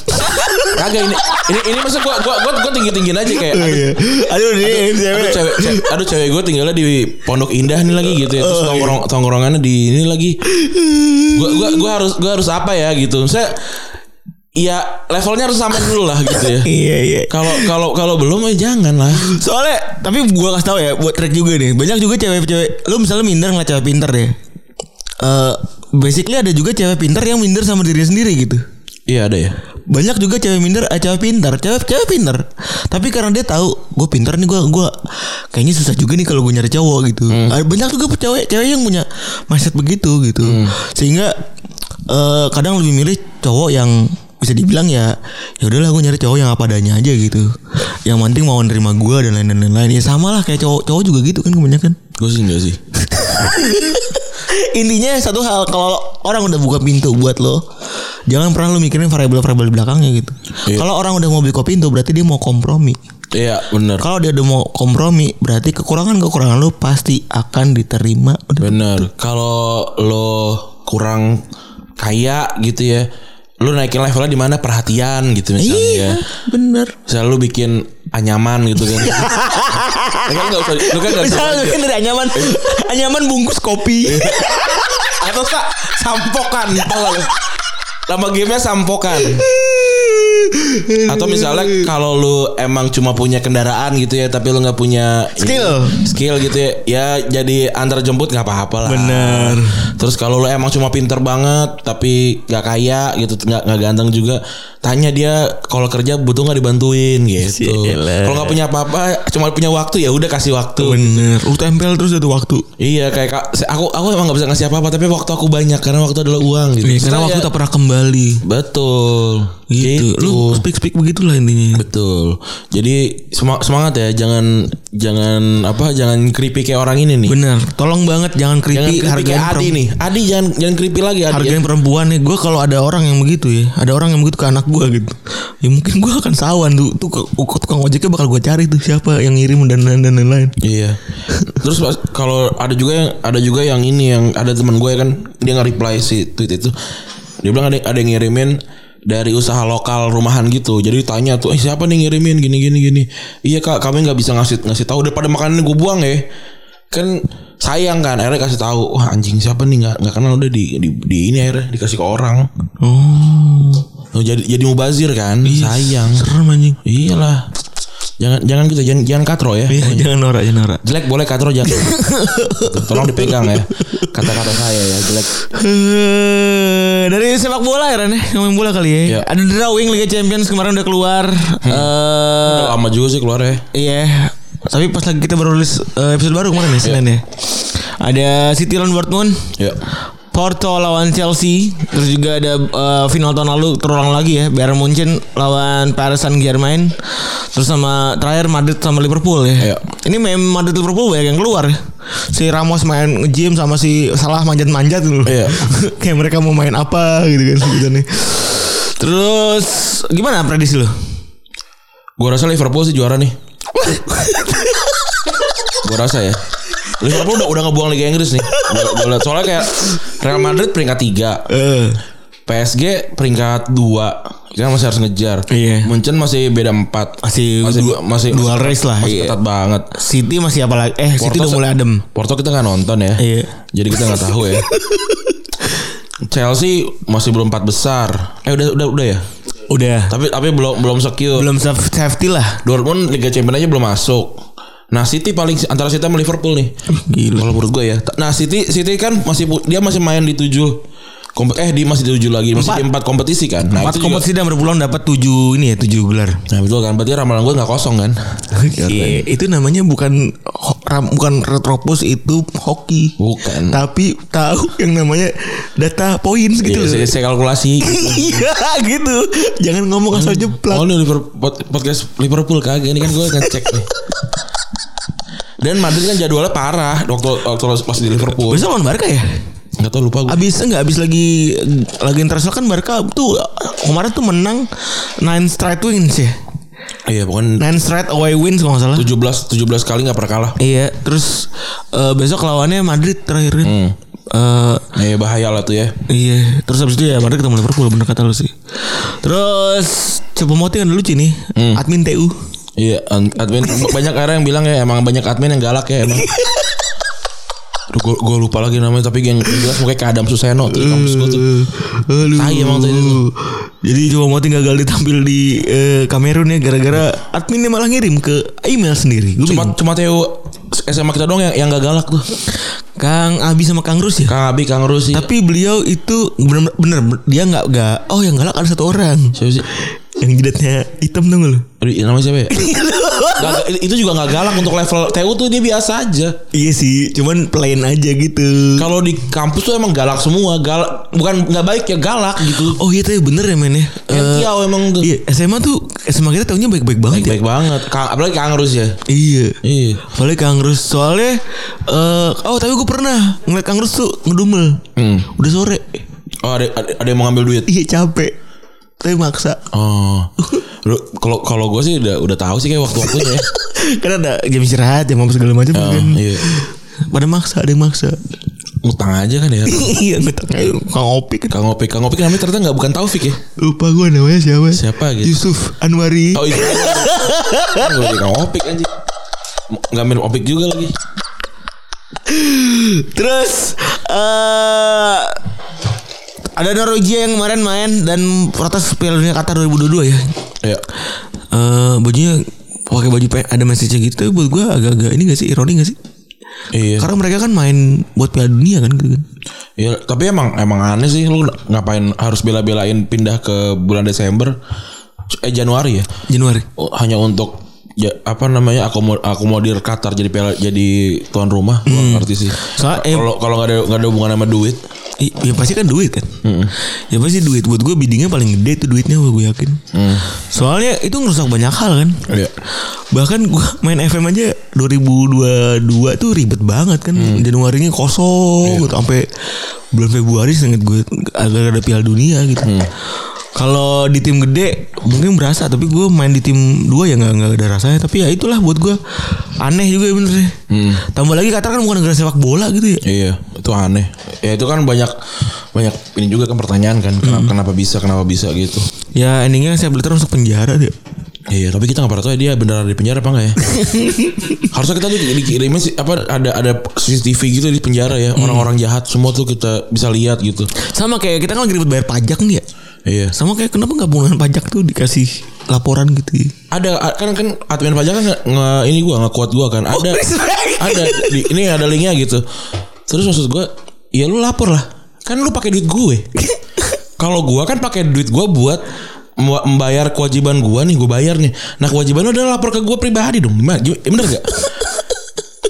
Speaker 3: kagak ini ini ini masa gue gua gua gua tinggi tinggiin aja kayak aduh,
Speaker 5: Iya. Aduh nih
Speaker 3: aduh
Speaker 5: cewek.
Speaker 3: cewek, cewek aduh cewek gue tinggalnya di Pondok Indah nih lagi gitu ya. Terus tongkrong tongkrongannya di ini lagi. Gua gua gua harus gua harus apa ya gitu. Saya ya levelnya harus sama dulu lah gitu ya.
Speaker 5: Iya iya.
Speaker 3: Kalau kalau kalau belum ya jangan lah.
Speaker 2: Soalnya tapi gua kasih tau ya buat track juga nih. Banyak juga cewek-cewek. Lu misalnya minder ngeliat cewek pinter deh. Eh basically ada juga cewek pinter yang minder sama dirinya sendiri gitu.
Speaker 3: Iya ada ya.
Speaker 2: Banyak juga cewek minder, eh, cewek pinter, cewek cewek pinter. Tapi karena dia tahu gue pinter nih gue gua kayaknya susah juga nih kalau gue nyari cowok gitu. Ada Banyak juga cewek cewek yang punya mindset begitu gitu. Sehingga eh, kadang lebih milih cowok yang bisa dibilang ya ya udahlah gue nyari cowok yang apa adanya aja gitu. Yang penting mau nerima gue dan lain lain lain. Ya sama lah kayak cowok cowok juga gitu kan kebanyakan.
Speaker 3: Gue sih enggak sih.
Speaker 2: Intinya satu hal kalau orang udah buka pintu buat lo, jangan pernah lo mikirin variabel-variabel di belakangnya gitu.
Speaker 3: Iya.
Speaker 2: Kalau orang udah mau buka pintu berarti dia mau kompromi.
Speaker 3: Iya benar.
Speaker 2: Kalau dia udah mau kompromi berarti kekurangan-kekurangan lo pasti akan diterima. Udah.
Speaker 3: Bener. Kalau lo kurang kaya gitu ya, lo naikin levelnya di mana perhatian gitu misalnya. ya.
Speaker 2: Iya, bener.
Speaker 3: Misalnya lu bikin anyaman gitu kan. Lu kan enggak usah lu kan enggak
Speaker 2: Misalnya mungkin dari anyaman, anyaman bungkus kopi.
Speaker 3: Iya. atau sa- sampokan tau gak lu? Nama gamenya sampokan. Atau misalnya kalau lu emang cuma punya kendaraan gitu ya, tapi lu nggak punya
Speaker 2: Skill.
Speaker 3: skill gitu ya, ya jadi antar jemput nggak apa-apa lah.
Speaker 6: Bener.
Speaker 3: Terus kalau lu emang cuma pinter banget, tapi nggak kaya gitu, nggak nggak ganteng juga, tanya dia kalau kerja butuh nggak dibantuin gitu.
Speaker 2: Gila.
Speaker 3: Kalau nggak punya apa-apa, cuma punya waktu ya udah kasih waktu.
Speaker 6: Bener. Lu tempel terus satu waktu.
Speaker 3: Iya kayak Kak, se- aku aku emang nggak bisa ngasih apa-apa, tapi waktu aku banyak karena waktu adalah uang gitu.
Speaker 6: Iya, karena
Speaker 3: Maksudnya
Speaker 6: waktu
Speaker 3: ya-
Speaker 6: tak pernah kembali.
Speaker 3: Betul.
Speaker 6: Gitu. Lu speak speak begitulah intinya.
Speaker 3: Betul. Jadi sema- semangat ya, jangan jangan apa, jangan creepy kayak orang ini nih.
Speaker 6: Bener. Tolong banget jangan creepy
Speaker 3: Jangan creepy
Speaker 6: hargain
Speaker 3: kayak Adi
Speaker 6: perempuan.
Speaker 3: nih. Adi jangan jangan creepy lagi Adi.
Speaker 6: hargain perempuan ya gue kalau ada orang yang begitu ya ada orang yang begitu ke anak gue gitu ya mungkin gue akan sawan tuh tuh ke- tukang ojeknya bakal gue cari tuh siapa yang ngirim dan dan dan lain-lain
Speaker 3: Iya. Terus pas- kalau ada juga yang ada juga yang ini yang ada teman gue kan dia nge-reply si tweet itu. Dia bilang ada ada yang ngirimin dari usaha lokal rumahan gitu. Jadi tanya tuh, "Eh, siapa nih ngirimin gini gini gini?" "Iya, Kak, kami nggak bisa ngasih ngasih tahu daripada makanan gue buang ya." Kan sayang kan akhirnya kasih tahu wah anjing siapa nih nggak nggak kenal udah di, di di ini akhirnya dikasih ke orang
Speaker 6: oh
Speaker 3: Oh, jadi jadi mubazir kan sayang
Speaker 6: serem anjing
Speaker 3: iyalah jangan jangan gitu jangan jangan katro ya
Speaker 6: iya jangan norak jangan norak
Speaker 3: Jelek boleh katro jangan. Tolong dipegang ya kata-kata saya ya jelek.
Speaker 2: Eh, dari sepak bola ya Ren ya? ngomongin bola kali ya.
Speaker 3: Iya.
Speaker 2: Ada drawing Liga Champions kemarin udah keluar.
Speaker 6: Hmm.
Speaker 2: Eh
Speaker 3: Lama juga sih keluar ya.
Speaker 2: iya. Tapi pas lagi kita baru rilis eh, episode baru kemarin
Speaker 6: Iya.
Speaker 2: ya Senin ya. Ada City lawan Dortmund.
Speaker 3: Ya.
Speaker 2: Porto lawan Chelsea, terus juga ada eh, final tahun lalu terulang lagi ya, Bayern Munchen lawan Paris Saint Germain, terus sama terakhir Madrid sama Liverpool ya.
Speaker 3: Iya.
Speaker 2: Ini memang Madrid Liverpool banyak yang keluar. ya. Si Ramos main nge-gym sama si Salah manjat-manjat dulu.
Speaker 3: Iya.
Speaker 2: Kayak mereka mau main apa gitu kan sebutannya. Terus gimana prediksi lo?
Speaker 3: Gua rasa Liverpool sih juara nih. Gua rasa ya. Liverpool udah udah ngebuang Liga Inggris nih. Gua- gua liat. Soalnya kayak Real Madrid peringkat 3,
Speaker 2: Eh,
Speaker 3: PSG peringkat 2. Kita masih harus ngejar.
Speaker 2: Iya.
Speaker 3: Munchen masih beda 4.
Speaker 2: Masih dua-
Speaker 3: masih
Speaker 2: dual race lah,
Speaker 3: Masih
Speaker 2: iya.
Speaker 3: ketat banget.
Speaker 2: City masih apa lagi? Eh, City
Speaker 3: Porto
Speaker 2: udah
Speaker 3: se-
Speaker 2: mulai adem.
Speaker 3: Porto kita nggak nonton ya.
Speaker 2: Iya.
Speaker 3: Jadi kita nggak tahu ya. Chelsea masih belum empat besar. Eh udah udah udah ya.
Speaker 2: Udah.
Speaker 3: Tapi tapi belum belum secure.
Speaker 2: Belum safe- safety lah.
Speaker 3: Dortmund Liga Champions aja belum masuk. Nah City paling antara City sama Liverpool nih. Kalau menurut gue ya. Nah City City kan masih pu- dia masih main di tujuh kompe- eh di masih di tujuh lagi masih
Speaker 2: Empat.
Speaker 3: di empat kompetisi kan. Nah,
Speaker 2: Empat
Speaker 3: itu juga-
Speaker 2: kompetisi dan berpulang dapat tujuh ini ya tujuh gelar.
Speaker 3: Nah betul kan. Berarti ramalan gue nggak kosong kan.
Speaker 6: Iya, itu namanya bukan ho- ram- bukan retropus itu hoki.
Speaker 3: Bukan.
Speaker 6: Tapi tahu yang namanya data points gitu. loh.
Speaker 3: Iya, saya, saya kalkulasi.
Speaker 6: Iya gitu. Jangan ngomong asal jeplak.
Speaker 3: Oh ini Liverpool, pod- podcast Liverpool kagak ini kan gue ngecek nih. Dan Madrid kan jadwalnya parah waktu waktu pas di Liverpool.
Speaker 2: Besok lawan Barca ya?
Speaker 3: Enggak tahu lupa gue.
Speaker 2: Abis enggak abis lagi lagi internasional kan Barca tuh kemarin tuh menang nine straight wins ya.
Speaker 3: Iya pokoknya
Speaker 2: Nine straight away wins kalau nggak salah.
Speaker 3: 17 17 kali nggak pernah kalah.
Speaker 2: Iya, terus eh, besok lawannya Madrid terakhir kan. Eh,
Speaker 3: Nah, ya bahaya lah tuh ya.
Speaker 2: iya, terus abis itu ya Madrid ketemu Liverpool bener kata lu sih. Terus coba moting kan lucu nih, admin TU.
Speaker 3: Iya, an- admin banyak orang yang bilang ya emang banyak admin yang galak ya emang. Aduh, gue, lupa lagi namanya tapi yang jelas mukanya kayak Adam Suseno tuh di kampus gue tuh.
Speaker 2: Aduh.
Speaker 3: Tai emang tuh itu tuh.
Speaker 2: Jadi coba mau tinggal gagal ditampil di eh, Kamerun ya gara-gara adminnya malah ngirim ke email sendiri. Gue
Speaker 3: Cuma
Speaker 2: bingung.
Speaker 3: cuma Theo SMA kita doang yang yang gak galak tuh.
Speaker 2: Kang Abi sama Kang Rus ya.
Speaker 3: Kang Abi, Kang Rusi.
Speaker 2: Tapi beliau itu bener bener dia nggak nggak. Oh yang galak ada satu orang
Speaker 3: siapa sih?
Speaker 2: yang jidatnya hitam dong lu.
Speaker 3: Aduh, namanya siapa
Speaker 2: Iya.
Speaker 3: ya? Gak- itu juga nggak galak untuk level TU tuh dia biasa aja.
Speaker 2: iya sih, cuman plain aja gitu.
Speaker 3: Kalau di kampus tuh emang galak semua, galak bukan nggak baik ya galak gitu.
Speaker 2: Oh iya tuh bener ya men ya.
Speaker 3: Yang
Speaker 2: Eh,
Speaker 3: tiaw emang tuh.
Speaker 2: iya SMA tuh SMA kita tahunya baik-baik banget ya.
Speaker 3: Baik banget. Kang, apalagi Kang Rus ya.
Speaker 2: Iya.
Speaker 3: Iya.
Speaker 2: Soalnya Kang Rus soalnya eh oh tapi gue pernah ngeliat Kang Rus tuh ngedumel.
Speaker 3: Hmm.
Speaker 2: Udah sore.
Speaker 3: Oh ada, ada ada yang mau ngambil duit.
Speaker 2: Iya capek. Tapi maksa.
Speaker 3: Oh. Lu- Kalau kalau gue sih udah udah tahu sih kayak waktu-waktunya ya.
Speaker 2: Karena Kan ada jam istirahat, jam apa segala macam
Speaker 3: Oh,
Speaker 2: kan.
Speaker 3: iya.
Speaker 2: Pada maksa, ada yang maksa.
Speaker 3: Ngutang aja kan ya.
Speaker 2: iya, ngutang aja. Kang Opik
Speaker 3: Kang Opik, Kang Opik namanya ternyata nggak bukan Taufik ya.
Speaker 6: Lupa gue namanya siapa?
Speaker 3: Siapa gitu?
Speaker 6: Yusuf Anwari.
Speaker 3: Oh iya. Kan gua jadi Kang Opik anjing. Nggak ambil Opik juga lagi.
Speaker 2: Terus eh Ada Norwegia yang kemarin main dan protes Piala Dunia Qatar 2022 ya.
Speaker 3: Ya.
Speaker 2: Eh bajunya pakai baju pe- ada message gitu tapi buat gua agak-agak ini gak sih ironi gak sih?
Speaker 3: Iya.
Speaker 2: Karena mereka kan main buat Piala Dunia kan gitu kan.
Speaker 3: Iya, tapi emang emang aneh sih lu ngapain harus bela-belain pindah ke bulan Desember eh Januari ya.
Speaker 2: Januari.
Speaker 3: Oh, Hanya untuk ya, apa namanya akomo- akomodir Qatar jadi piala- jadi tuan rumah. Gua nggak ngerti sih.
Speaker 2: Soalnya, eh,
Speaker 3: Kalau kalau nggak ada nggak ada hubungan sama duit.
Speaker 2: I- Ya pasti kan duit kan Ya pasti duit Buat gue biddingnya paling gede tuh duitnya gue yakin Soalnya itu ngerusak banyak hal kan
Speaker 3: Iya.
Speaker 2: Bahkan gue main FM aja 2022 tuh ribet banget kan Januarinya kosong gitu. Sampai bulan Februari seinget gue Agak ada piala dunia gitu Kalau di tim gede mungkin berasa Tapi gue main di tim dua ya nggak nggak ada rasanya Tapi ya itulah buat gue Aneh juga benernya Tambah lagi Qatar kan bukan negara sepak bola gitu ya
Speaker 3: Iya, itu aneh. Ya itu kan banyak banyak ini juga kan pertanyaan kan kenapa, kenapa bisa kenapa bisa gitu.
Speaker 2: Ya endingnya saya beli masuk penjara dia
Speaker 3: Iya, tapi kita nggak pernah tahu ya dia beneran di penjara apa enggak ya. Harusnya kita di- dikirimin sih apa ada ada CCTV gitu di penjara ya orang-orang jahat semua tuh kita bisa lihat gitu.
Speaker 2: Sama kayak kita kan lagi ribet bayar pajak nih ya.
Speaker 3: Iya.
Speaker 2: Sama kayak kenapa nggak bungalan pajak tuh dikasih laporan gitu. ya.
Speaker 3: Ada a- kan kan admin pajak kan nge, nge- ini gua nggak kuat gua kan.
Speaker 2: Oh,
Speaker 3: Ada ada di, ini ada linknya gitu. Terus maksud gua, ya lu lapor lah. Kan lu pakai duit gue. Kalau gua kan pakai duit gua buat mem- membayar kewajiban gua nih, gua bayar nih. Nah, kewajiban lu adalah lapor ke gua pribadi dong. Gimana? Gim- Bener gak?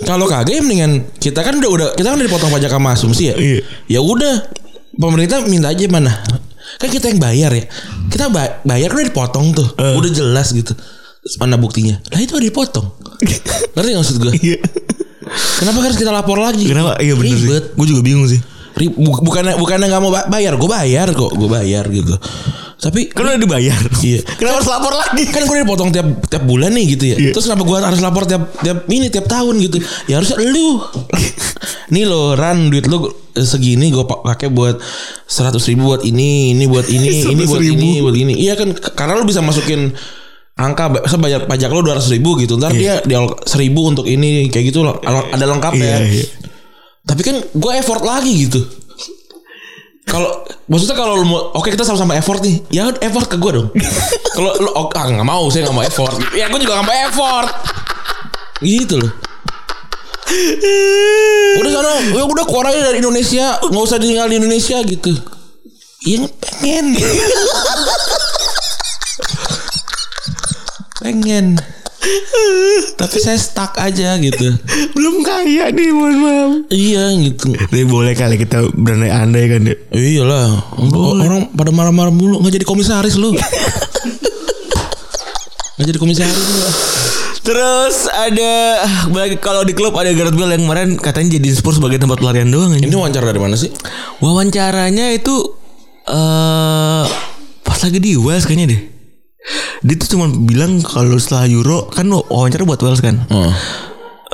Speaker 3: Kalau kagak ya mendingan kita kan udah udah kita kan udah dipotong pajak sama asumsi ya.
Speaker 2: Iya.
Speaker 3: Ya udah pemerintah minta aja mana. Kan kita yang bayar ya. Kita ba- bayar kan udah dipotong tuh. Udah jelas gitu. Terus mana buktinya? Lah itu udah dipotong. Ngerti gak maksud gue?
Speaker 2: Iya.
Speaker 3: Kenapa harus kita lapor lagi?
Speaker 2: Kenapa? Iya bener sih.
Speaker 3: Ribet.
Speaker 2: Gue juga bingung sih.
Speaker 3: Rib- bu- Bukannya bukannya nggak mau ba- bayar, gue bayar kok, gue bayar gitu. Tapi
Speaker 2: Kan udah dibayar.
Speaker 3: Iya.
Speaker 2: Kenapa harus lapor lagi?
Speaker 3: kan gue dipotong tiap tiap bulan nih gitu ya.
Speaker 2: Iya.
Speaker 3: Terus kenapa gue harus lapor tiap tiap ini tiap tahun gitu? Ya harusnya lu. nih lo ran duit lu eh, segini gue pakai buat seratus ribu buat ini ini buat ini ini buat
Speaker 2: 100.000.
Speaker 3: ini buat ini. Iya kan k- karena lu bisa masukin angka ba- misalnya bayar pajak lu dua ratus ribu gitu ntar dia dia seribu untuk ini kayak gitu lo- lo- ada
Speaker 2: Iya.
Speaker 3: lengkapnya
Speaker 2: Iya, iya.
Speaker 3: tapi kan gue effort lagi gitu kalau maksudnya kalau lu mau oke kita sama-sama effort nih ya effort ke gue dong kalau lu oh, ah nggak mau saya nggak mau effort ya gue juga nggak mau effort gitu loh udah sana ya udah keluar aja dari Indonesia nggak usah tinggal di Indonesia gitu yang pengen pengen tapi saya stuck aja gitu
Speaker 2: Belum kaya nih mohon maaf.
Speaker 3: iya gitu
Speaker 2: Tapi boleh kali kita berandai andai kan ya.
Speaker 3: Iyalah, O- orang pada marah-marah mulu nggak jadi komisaris lu. nggak jadi komisaris lu.
Speaker 2: Terus ada bagi- kalau di klub ada Gareth Bale yang kemarin katanya jadi Spurs sebagai tempat pelarian doang
Speaker 3: Ini
Speaker 2: ini.
Speaker 3: wawancara dari mana sih?
Speaker 2: Wawancaranya itu eh pas lagi di Wales kayaknya deh. Dia tuh cuma bilang kalau setelah Euro kan wawancara buat Wales kan.
Speaker 3: Oh.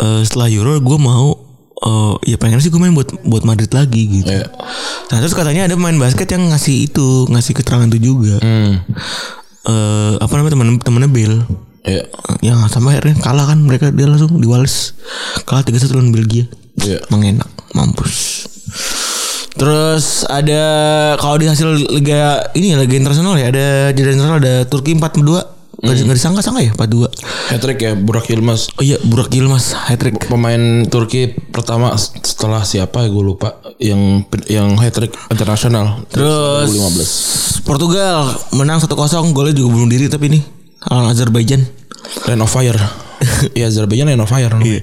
Speaker 2: Eh, setelah Euro gue mau eh, ya pengen sih gue main buat buat Madrid lagi gitu.
Speaker 3: Iya.
Speaker 2: Nah terus katanya ada pemain basket yang ngasih itu ngasih keterangan itu juga.
Speaker 3: Hmm.
Speaker 2: Eh, apa namanya teman temannya Bel
Speaker 3: Iya.
Speaker 2: yang Eh, ya, sampai akhirnya kalah kan mereka dia langsung diwales kalah 3-1 lawan Belgia.
Speaker 3: Iya.
Speaker 2: Mengenak mampus. Terus ada kalau di hasil liga ini ya liga internasional ya ada jeda internasional ada Turki 4-2 nggak nggak disangka-sangka ya 4-2
Speaker 3: Hat-trick ya Burak Yilmaz.
Speaker 2: Oh iya Burak Yilmaz hat trick
Speaker 3: Pemain Turki pertama setelah siapa ya gue lupa yang yang hat trick internasional.
Speaker 2: Terus
Speaker 3: 2015.
Speaker 2: Portugal menang 1-0 golnya juga bunuh diri tapi ini lawan Azerbaijan.
Speaker 3: Line of Fire. Iya Azerbaijan Line of Fire. Iya.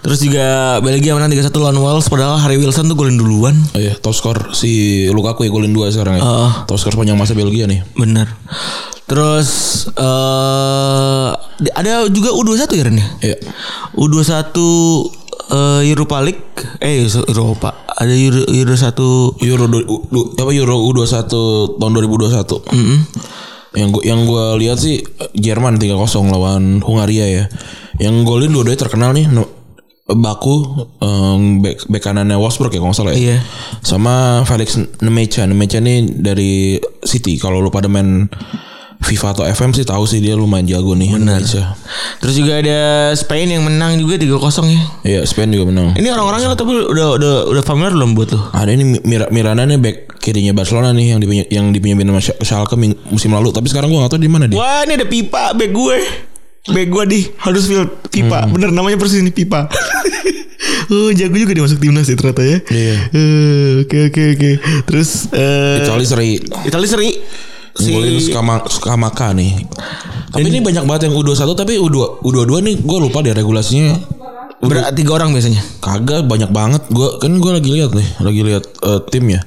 Speaker 2: Terus juga Belgia menang 3-1 lawan Wales padahal Harry Wilson tuh golin duluan.
Speaker 3: Iya, top skor si Lukaku ya golin 2 sekarang ya.
Speaker 2: Heeh.
Speaker 3: Top skor sepanjang masa Belgia nih.
Speaker 2: Bener. Terus eh di- ada juga U21 ya Ren ya?
Speaker 3: Iya.
Speaker 2: U21 eh, Europa League eh Eropa. Ada Euro, Euro 1
Speaker 3: Euro du, du- apa Euro U21 tahun 2021. Yang gua yang gua lihat sih eh, Jerman 3-0 lawan Hungaria ya. Yang golin dua-duanya terkenal nih. No- Baku em, bek, bek kanannya Wolfsburg ya kalau nggak salah ya.
Speaker 2: Iya.
Speaker 3: Sama Felix Nemecha. Nemecha nih dari City. Kalau lu pada main FIFA atau FM sih tahu sih dia lumayan jago nih. Benar.
Speaker 2: Terus juga ada Spain yang menang juga 3-0 ya.
Speaker 3: Iya, Spain juga menang.
Speaker 2: Ini orang-orangnya lo tapi udah udah udah familiar belum buat lo?
Speaker 3: Ada ini Mir Mirana nih back kirinya Barcelona nih yang dipunya yang dipinjemin sama Sch- Schalke ming- musim lalu tapi sekarang gua nggak tahu di mana dia
Speaker 2: Wah ini ada pipa bag gue. Bag gue di Huddersfield pipa. Bener namanya persis ini pipa. oh jago juga dia masuk timnas ya ternyata ya.
Speaker 3: Iya.
Speaker 2: Eh, Oke oke oke. Terus eh
Speaker 3: kecuali seri
Speaker 7: Itali seri si
Speaker 3: Golin Skama, Skamaka nih. Tapi ini banyak banget yang U21 tapi U2 U22 nih gue lupa deh regulasinya.
Speaker 7: ber- tiga orang biasanya.
Speaker 3: Kagak banyak banget. Gua kan gue lagi lihat nih, lagi lihat eh, tim ya.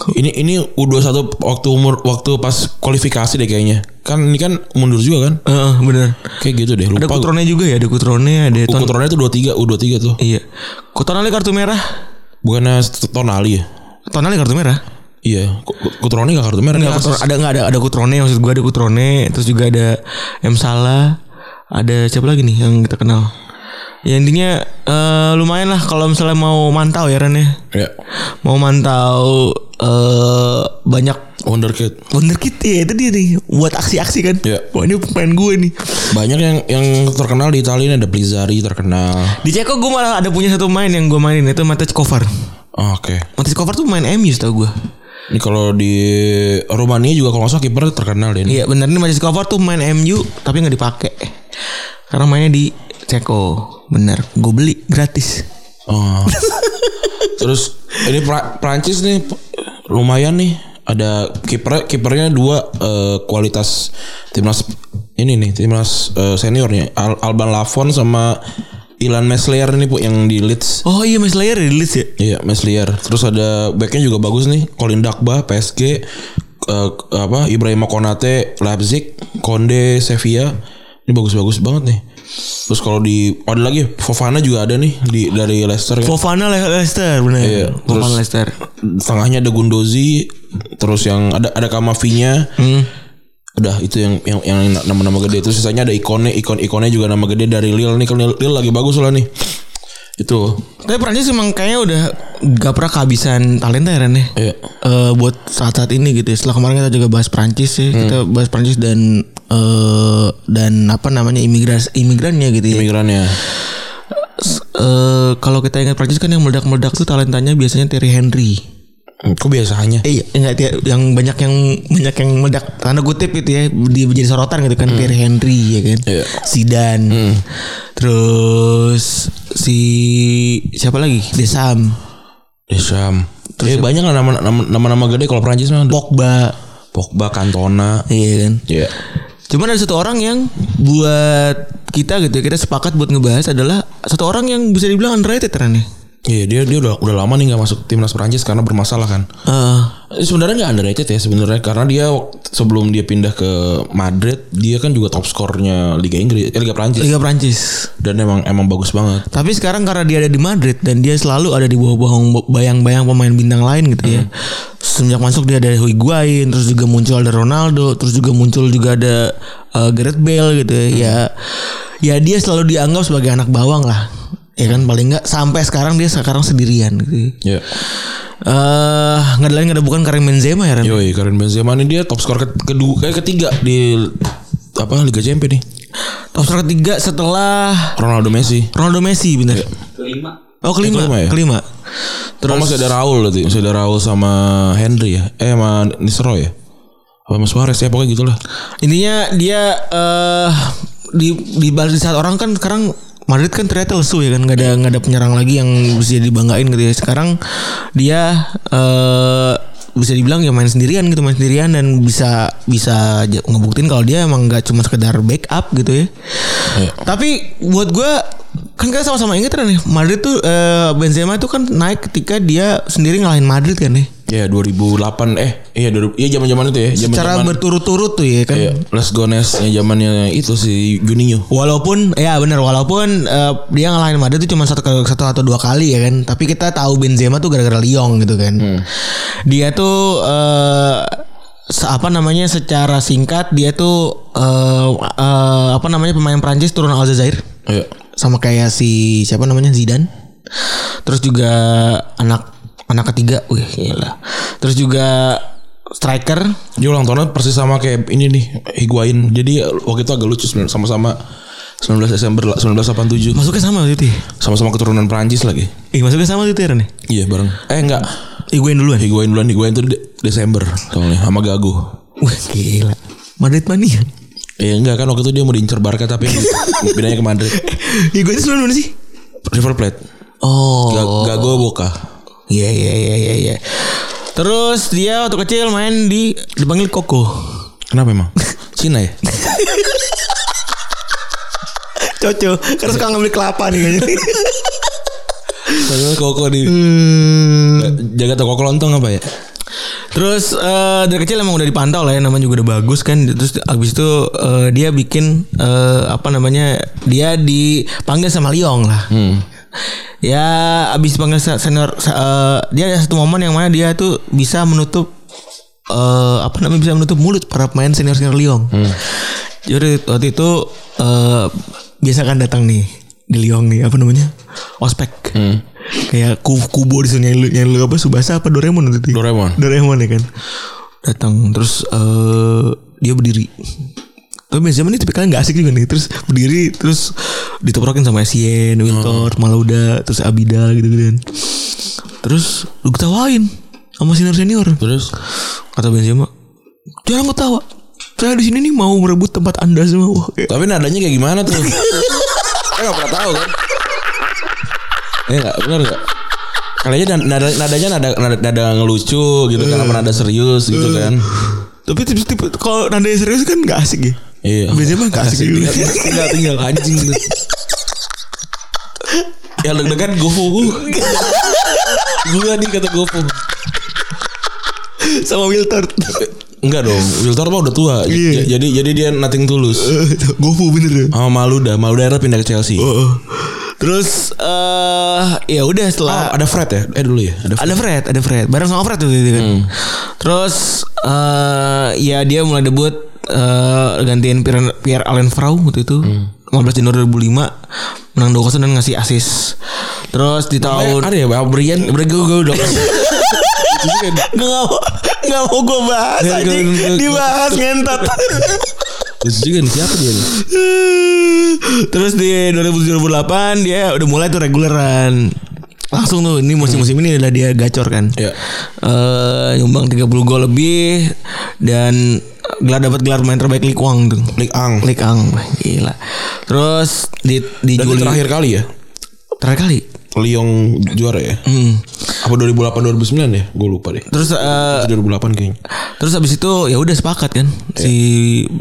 Speaker 3: Ini ini U21 waktu umur waktu pas kualifikasi deh kayaknya. Kan ini kan mundur juga kan?
Speaker 2: eh, bener.
Speaker 3: Kayak gitu deh.
Speaker 2: Ada
Speaker 3: Lupa. gua.
Speaker 2: kutrone juga ya. Ada kutrone ada. Ton-
Speaker 3: Kutrone itu 23, U23 tuh.
Speaker 2: iya. Kutrone kartu merah.
Speaker 3: Bukannya st- Tonali ya?
Speaker 2: Tonali kartu merah.
Speaker 3: Iya, Ku- Kutrone gak kartu merah nih.
Speaker 2: Nggak, Kutrone- ada nggak ada ada kutrone maksud gue ada kutrone terus juga ada M Salah ada siapa lagi nih yang kita kenal ya intinya eh, lumayan lah kalau misalnya mau mantau ya Ren ya
Speaker 3: Ya.
Speaker 2: mau mantau eh banyak
Speaker 3: Wonderkid.
Speaker 2: wonderkid ya itu dia nih buat aksi-aksi kan
Speaker 3: Iya.
Speaker 2: wah ini pemain gue nih
Speaker 3: Banyak yang yang terkenal di Italia ini ada Blizzari terkenal.
Speaker 2: di Ceko gue malah ada punya satu main yang gue mainin itu Matic Kovar
Speaker 3: Ah, Oke.
Speaker 2: Matic Kovar tuh main MU tau gue
Speaker 3: Ini kalau di Rumania juga kalau nggak salah kiper terkenal deh. ini.
Speaker 2: iya bener nih Matic Kovar tuh main MU tapi nggak dipakai karena mainnya di Ceko bener gue beli gratis
Speaker 3: Oh. Terus ini Pra- Prancis nih lumayan nih ada kiper kipernya dua eh, kualitas timnas ini nih timnas eh, seniornya Al- Alban Lafon sama Ilan Meslier ini bu yang di Leeds.
Speaker 2: oh iya Mas Layer rilis ya
Speaker 3: Iya Meslier. Terus ada backnya juga bagus nih Colin Dakba PSG eh, apa Ibrahim Konate Leipzig Konde Sevilla ini bagus-bagus banget nih. Terus kalau di oh, ada lagi Fofana juga ada nih di dari Leicester kan.
Speaker 2: Fofana Le- Leicester bener
Speaker 3: Iya,
Speaker 2: Fofana
Speaker 3: terus-
Speaker 2: Leicester
Speaker 3: Setengahnya ada Gundozi, terus yang ada ada Kamavinya. Udah itu yang yang yang nama-nama gede. Terus sisanya ada ikonnya, ikon-ikonnya juga nama gede dari Lille nih. Kalau Lille, Lille lagi bagus lah nih. Itu.
Speaker 2: tapi Prancis emang kayaknya udah gak pernah kehabisan talenta ya Ren ya
Speaker 3: Iya.
Speaker 2: eh buat saat-saat ini gitu ya. Setelah kemarin kita juga bahas Prancis ya, kita bahas Prancis dan eh dan apa namanya imigras imigrannya gitu ya.
Speaker 3: Imigrannya.
Speaker 2: Eh, kalau kita ingat Prancis kan yang meledak-meledak tuh talentanya biasanya Thierry Henry.
Speaker 3: Hmm, Kok biasanya?
Speaker 2: Eh, iya, enggak Tia- yang banyak yang banyak yang meledak tanda kutip gitu ya, di menjadi sorotan gitu kan Thierry Henry ya kan.
Speaker 3: Iya.
Speaker 2: Zidane. Terus si siapa lagi? Desam,
Speaker 3: Desam. Terus eh, banyak lah nama- nama- nama-nama gede kalau Prancis mah.
Speaker 2: Pogba.
Speaker 3: Pogba, Cantona.
Speaker 2: Iya kan.
Speaker 3: Iya.
Speaker 2: Cuman ada satu orang yang buat kita gitu ya, kita sepakat buat ngebahas adalah satu orang yang bisa dibilang underrated Ren ya.
Speaker 3: Iya, dia dia udah udah lama nih nggak masuk timnas Prancis karena bermasalah kan.
Speaker 2: Heeh.
Speaker 3: Eh, Sebenarnya nggak underrated ya sebenarnya karena dia wakt- sebelum dia pindah ke Madrid dia kan juga top skornya Liga Inggris, eh, Liga Prancis
Speaker 2: Liga Prancis.
Speaker 3: dan emang emang bagus banget.
Speaker 2: Tapi sekarang karena dia ada di Madrid dan dia selalu ada di bawah-bawah bayang-bayang pemain bintang lain gitu ya.
Speaker 3: Iya.
Speaker 2: Semenjak masuk dia ada Higuain, terus juga muncul ada Ronaldo, terus juga muncul juga ada eh, Gareth Bale gitu ya. ya. Ya dia selalu dianggap sebagai anak bawang lah. Ya kan paling nggak sampai sekarang dia sekarang sendirian gitu. ya.
Speaker 3: Iya.
Speaker 2: Eh nggak ada lain nggak ada bukan Karim Benzema ya Ren.
Speaker 3: Yoi, Karim Benzema ini dia top skor ke- kedua eh, ketiga di apa Liga Champions nih.
Speaker 2: Top skor ketiga setelah
Speaker 3: Ronaldo Messi.
Speaker 2: Ronaldo Messi bener. Oh kelima,
Speaker 3: Eh, kelima ya?
Speaker 2: kelima.
Speaker 3: Terus masih ada Raul berarti, masih ada Raul sama Henry ya. Eh sama Nisroy ya. Apa sama Suarez ya pokoknya gitulah.
Speaker 2: Intinya dia eh di di balik saat orang kan sekarang Madrid kan ternyata lesu ya kan nggak ada nggak ada penyerang lagi yang bisa dibanggain gitu ya. Sekarang dia eh bisa dibilang ya main sendirian gitu main sendirian dan bisa bisa j- ngebuktiin kalau dia emang nggak cuma sekedar backup gitu ya.
Speaker 3: Iya.
Speaker 2: Tapi buat gua kan kita sama-sama inget kan nih Madrid tuh eh, Benzema itu kan naik ketika dia sendiri ngalahin Madrid kan nih.
Speaker 3: Ya 2008 eh iya 2000 iya zaman-zaman itu ya,
Speaker 2: Secara
Speaker 3: zaman-zaman
Speaker 2: berturut-turut tuh ya kan.
Speaker 3: Iya, Les Gones yang zamannya itu si Juninho.
Speaker 2: Walaupun ya benar walaupun eh, dia ngalahin Madrid itu cuma satu ke- satu atau dua kali ya kan. Tapi kita tahu Benzema tuh gara-gara Lyon gitu kan. Dia tuh eh se- apa namanya secara singkat dia tuh eh eh, apa namanya pemain Prancis turun Aljazair
Speaker 3: Iya.
Speaker 2: sama kayak si siapa namanya Zidane. Terus juga anak anak ketiga, wih gila. Terus juga striker
Speaker 3: Dia ulang tahunnya persis sama kayak ini nih Higuain. Jadi waktu itu agak lucu sebenarnya, sama-sama 19 Desember lah, 1987.
Speaker 2: masuknya sama gitu. ya?
Speaker 3: Sama-sama keturunan Prancis lagi.
Speaker 2: Ih, masuknya sama gitu ya Ren?
Speaker 3: Iya bareng. Eh enggak.
Speaker 8: Higuain duluan.
Speaker 3: Higuain duluan Higuain tuh De- Desember soalnya sama Gago.
Speaker 8: Wah gila. Madrid mania.
Speaker 3: Ya enggak kan waktu itu dia mau diincar Barca tapi pindahnya ke Madrid.
Speaker 8: Higuain itu sebenarnya mana sih?
Speaker 3: River Plate.
Speaker 8: Oh.
Speaker 3: Ga- Gago Boca.
Speaker 8: Iya iya iya iya iya.
Speaker 2: Terus dia waktu kecil main di dipanggil Koko.
Speaker 3: Kenapa emang? Cina ya?
Speaker 8: Cocok. Karena suka ngambil kelapa nih kayaknya.
Speaker 3: Padahal koko di Hmm. Eh, jaga toko kelontong apa ya?
Speaker 2: Terus eh, dari kecil emang udah dipantau lah ya namanya juga udah bagus kan. Terus abis itu eh, dia bikin eh, apa namanya dia dipanggil sama Liong lah. Ya abis panggil se- senior se- eh, dia ada satu momen yang mana dia tuh bisa menutup eh, apa namanya bisa menutup mulut para pemain senior senior Liong. Jadi waktu itu eh, biasa kan datang nih di Liong nih apa namanya ospek. Kayak ku- kubo di sini yang lu, yang lu apa Subasa apa Doraemon itu.
Speaker 3: Doraemon.
Speaker 2: Doraemon ya kan datang terus eh dia berdiri tapi Benjamin ini tipikalnya nggak asik juga nih terus berdiri terus ditoprokin sama Sien, Wiltor,
Speaker 8: Hmm.
Speaker 2: Malauda, terus Abida gitu gitu terus lu ketawain sama senior senior
Speaker 3: Terus
Speaker 2: kata Benzema jangan ketawa saya di sini nih mau merebut tempat anda semua Wah, kayak-
Speaker 3: tapi nadanya kayak gimana tuh? Saya nggak pernah tahu kan. Ya nggak benar nggak? Kalian nada, nadanya nada, nada nada ngelucu gitu kan, sama nada serius gitu kan.
Speaker 8: Tapi tipe-tipe kalau nada yang serius kan nggak asik ya.
Speaker 3: Iya.
Speaker 8: Benzema nggak asik
Speaker 3: Tinggal,
Speaker 8: juga.
Speaker 3: tinggal, tinggal anjing gitu. Ya deg-degan gofu Gua nih kata gofu
Speaker 8: Sama Wiltord.
Speaker 3: Enggak dong Wiltor mah udah tua
Speaker 8: Iya.
Speaker 3: Jadi jadi dia nothing tulus
Speaker 8: Gofu bener ya.
Speaker 3: Sama Maluda, Maluda akhirnya pindah ke Chelsea. Oh,
Speaker 8: Oh.
Speaker 2: terus eh ya udah setelah
Speaker 3: ada Fred ya? Eh dulu ya. Ada Fred.
Speaker 2: ada Fred, ada Fred. Bareng sama Fred tuh gitu kan.
Speaker 3: Hmm.
Speaker 2: Terus eh ya dia mulai debut eh gantiin Pierre, Pierre Allen Frau waktu itu.
Speaker 3: Hmm.
Speaker 2: 15 Januari 2005 menang 2-0 dan ngasih asis. Terus di tahun
Speaker 3: Ada ya, Bang? Brian, Brian gue gue udah.
Speaker 2: Nggak mau nggak mau gue bahas
Speaker 3: Nggak,
Speaker 2: anjing.
Speaker 3: nggak, nggak.
Speaker 2: Dibahas ngentot.
Speaker 3: Terus juga nih siapa dia? nih?
Speaker 2: Terus di 2008 dia udah mulai tuh reguleran. Langsung tuh ini musim-musim ini adalah dia gacor kan.
Speaker 3: Ya.
Speaker 2: eh nyumbang 30 gol lebih dan gelar dapat gelar main terbaik Lee Kwang tuh.
Speaker 3: Lik Ang.
Speaker 2: Lee Ang wah, gila. Terus di di
Speaker 3: Dan itu
Speaker 2: Juli
Speaker 3: terakhir kali ya.
Speaker 2: terakhir kali.
Speaker 3: Lyon juara ya.
Speaker 2: Hmm.
Speaker 3: Apa 2008 2009 ya? Gue lupa deh.
Speaker 2: Terus eh,
Speaker 3: 2008 kayaknya.
Speaker 2: terus habis itu ya udah sepakat kan
Speaker 3: Iya.
Speaker 2: si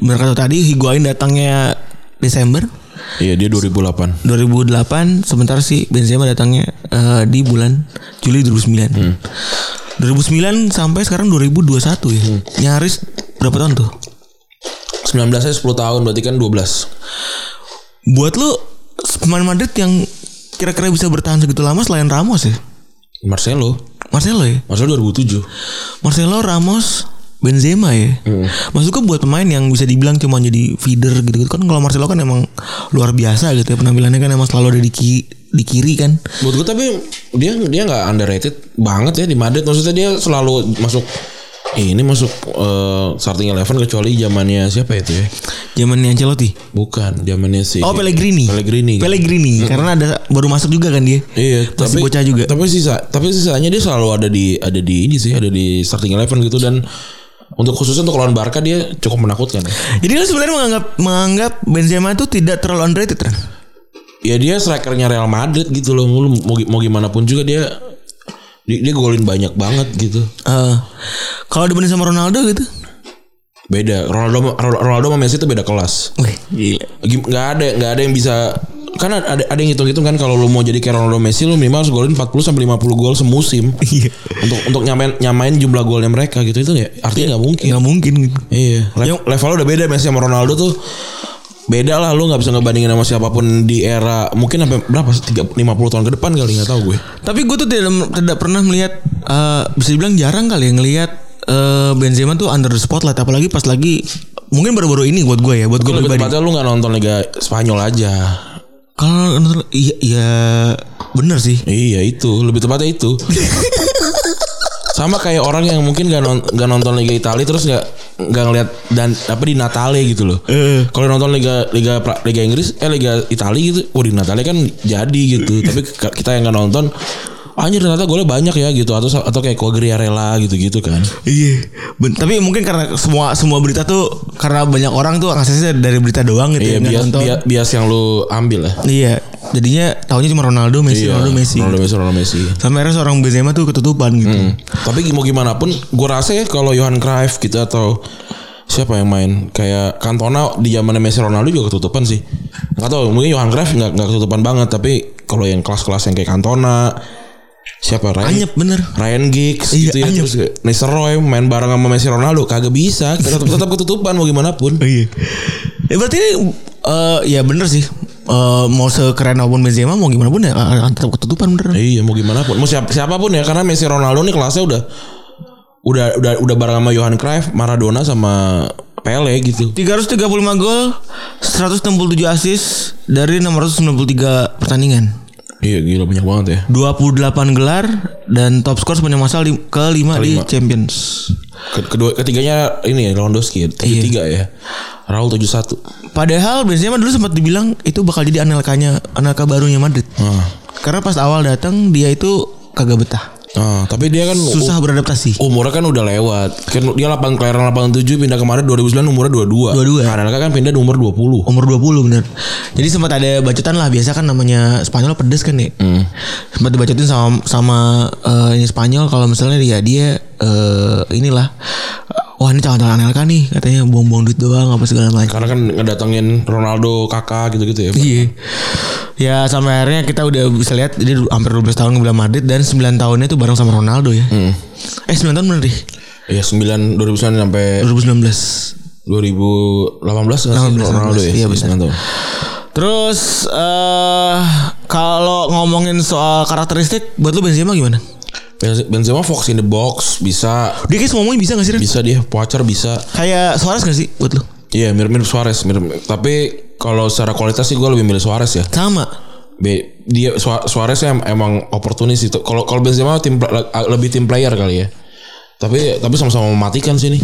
Speaker 2: mereka tuh tadi Higuain datangnya Desember
Speaker 3: Iya, dia 2008.
Speaker 2: 2008 sementara si Benzema datangnya eh, di bulan Juli 2009. 2009 sampai sekarang 2021 ya. Nyaris berapa tahun tuh?
Speaker 3: 19 nya 10 tahun berarti kan 12.
Speaker 2: buat lu pemain Madrid yang kira-kira bisa bertahan segitu lama selain Ramos ya?
Speaker 3: Marcelo.
Speaker 2: Marcelo ya?
Speaker 3: Marcelo 2007.
Speaker 2: Marcelo Ramos Benzema ya. Maksudnya buat pemain yang bisa dibilang cuma jadi feeder gitu, kan kalau Marcelo kan emang luar biasa gitu ya penampilannya kan emang selalu ada di ki- di kiri kan.
Speaker 3: Buat gue tapi dia dia nggak underrated banget ya di Madrid. Maksudnya dia selalu masuk eh, ini masuk eh, starting eleven kecuali zamannya siapa itu ya?
Speaker 2: Zamannya Ancelotti.
Speaker 3: Bukan, zamannya si
Speaker 2: Oh Pellegrini.
Speaker 3: Pellegrini.
Speaker 2: Pellegrini karena ada baru masuk juga kan dia.
Speaker 3: Iya,
Speaker 2: Masih bocah juga.
Speaker 3: Tapi sisa tapi sisanya dia selalu ada di ada di ini sih, ada di starting eleven gitu dan untuk khususnya untuk lawan Barca dia cukup menakutkan. ya.
Speaker 2: Jadi lu sebenarnya menganggap menganggap Benzema itu tidak terlalu underrated kan?
Speaker 3: Ya dia strikernya Real Madrid gitu loh. Lu Mau, mau gimana pun juga dia dia, dia golin banyak banget gitu.
Speaker 2: Eh, kalau dibanding sama Ronaldo gitu.
Speaker 3: Beda. Ronaldo Ronaldo sama Messi itu beda kelas.
Speaker 2: Wih, gila.
Speaker 3: Gim- nggak ada nggak ada yang bisa kan ada ada yang hitung-hitung kan kalau lu mau jadi kayak Ronaldo Messi lu minimal harus golin 40 sampai 50 gol semusim.
Speaker 2: Iya.
Speaker 3: untuk untuk nyamain nyamain jumlah golnya mereka gitu itu ya artinya nggak mungkin.
Speaker 2: Gak mungkin gitu.
Speaker 3: Iya. Le- level lu udah beda Messi sama Ronaldo tuh beda lah lu nggak bisa ngebandingin sama siapapun di era mungkin sampai berapa 30, 50 tahun ke depan kali nggak tahu gue.
Speaker 2: Tapi gue tuh tidak, tidak pernah melihat eh, bisa dibilang jarang kali ya ngelihat eh, Benzema tuh under the spotlight apalagi pas lagi mungkin baru-baru ini buat gue ya buat gue
Speaker 3: Gue
Speaker 2: pribadi.
Speaker 3: lu nggak nonton Liga Spanyol aja.
Speaker 2: Kalau nonton- iya iya bener sih.
Speaker 3: Iya itu lebih tepatnya itu. sama kayak orang yang mungkin gak, non- nggak nonton Liga Italia terus nggak nggak ngeliat dan apa di Natale gitu loh.
Speaker 2: Eh.
Speaker 3: Kalau nonton Liga Liga Pra- Liga Inggris eh Liga Italia gitu, wah di Natale kan jadi gitu. Tapi ke- kita yang nggak nonton anjir ternyata golnya banyak ya gitu atau atau kayak Quagliarella gitu-gitu kan.
Speaker 2: Iya, ben- tapi mungkin karena semua semua berita tuh karena banyak orang tuh aksesnya dari berita doang gitu
Speaker 3: Iya
Speaker 2: nggak
Speaker 3: bias,
Speaker 2: nonton.
Speaker 3: bias bias yang lu ambil lah.
Speaker 2: Iya, jadinya tahunya cuma Ronaldo, Messi,
Speaker 3: Iya,
Speaker 2: Ronaldo, Messi.
Speaker 3: Ronaldo Hmm. Messi, Ronaldo Messi.
Speaker 2: Sampai akhirnya seorang Benzema tuh ketutupan gitu.
Speaker 3: Tapi mau gimana pun gue rasa ya kalau Johan Cruyff gitu atau siapa yang main kayak Cantona di zaman Messi Ronaldo juga ketutupan sih. Enggak tahu mungkin Johan Cruyff nggak nggak ketutupan banget tapi kalau yang kelas-kelas yang kayak Cantona siapa Ryan
Speaker 2: Anyep bener.
Speaker 3: Ryan Giggs
Speaker 2: Iya,
Speaker 3: gitu ya
Speaker 2: anyep.
Speaker 3: terus Nistelrooy main bareng sama Messi Ronaldo kagak bisa tetap tetap ketutupan mau gimana pun.
Speaker 2: Iya. Ya berarti ini eh, ya bener sih. Eh, mau sekeren apapun Benzema mau gimana pun ya akan tetap ketutupan bener.
Speaker 3: Iya mau gimana pun, mau siap, siapapun ya karena Messi Ronaldo nih kelasnya udah udah udah udah bareng sama Johan Cruyff, Maradona sama Pele gitu.
Speaker 2: 335 gol, 167 assist dari 693 pertandingan.
Speaker 3: Iya gila banyak banget ya.
Speaker 2: 28 gelar dan top skor sepanjang masa lim- kelima di
Speaker 3: Kelima.
Speaker 2: Champions.
Speaker 3: Ke- Kedua ketiganya ini ya Lewandowski tujuh tiga ya. Raul 71 satu.
Speaker 2: Padahal Benzema dulu sempat dibilang itu bakal jadi anelkanya anelka barunya Madrid.
Speaker 3: Ah,
Speaker 2: Karena pas awal datang dia itu kagak betah.
Speaker 3: tapi dia kan
Speaker 2: Susah beradaptasi.
Speaker 3: u- umurnya kan udah lewat. Kan dia 8 kelahiran 87 pindah kemarin 2009 umurnya 22.
Speaker 2: 22.
Speaker 3: Anelka kan pindah di umur 20.
Speaker 2: Umur 20 bener Jadi sempat ada bacotan lah Biasa kan namanya Spanyol pedes kan ya Sempat dibacotin sama sama eh, ini Spanyol Kalau misalnya dia dia eh, inilah Wah ini calon-calon anelka nih Katanya buang-buang duit doang apa segala macam
Speaker 3: Karena kan ngedatengin Ronaldo, Kakak gitu-gitu ya. Pak.
Speaker 2: Iya. Ya sampai akhirnya kita udah bisa lihat dia du- hampir 12 tahun ngebelah Madrid dan 9 tahunnya itu bareng sama Ronaldo ya.
Speaker 3: Hmm.
Speaker 2: Eh 9 tahun bener deh.
Speaker 3: Iya 9 2009 sampai
Speaker 2: 2019.
Speaker 3: 2018 nggak sih
Speaker 2: 18,
Speaker 3: Ronaldo ya?
Speaker 2: iya, benar.
Speaker 3: 9 tahun.
Speaker 2: Terus eh kalau ngomongin soal karakteristik buat lu Benzema gimana?
Speaker 3: Benze- Benzema Fox in the box bisa
Speaker 2: Dia kayak ngomongin bisa gak sih? Ren?
Speaker 3: bisa dia poacher bisa
Speaker 2: Kayak Suarez gak sih buat lu?
Speaker 3: iya mirip-mirip Suarez mirip tapi kalau secara kualitas sih gue lebih milih Suarez ya
Speaker 2: Sama.
Speaker 3: Be- dia Sua- Suarez em- emang oportunis itu kalau kalau Benzema tim pla- lebih tim player kali ya tapi tapi sama-sama mematikan sih nih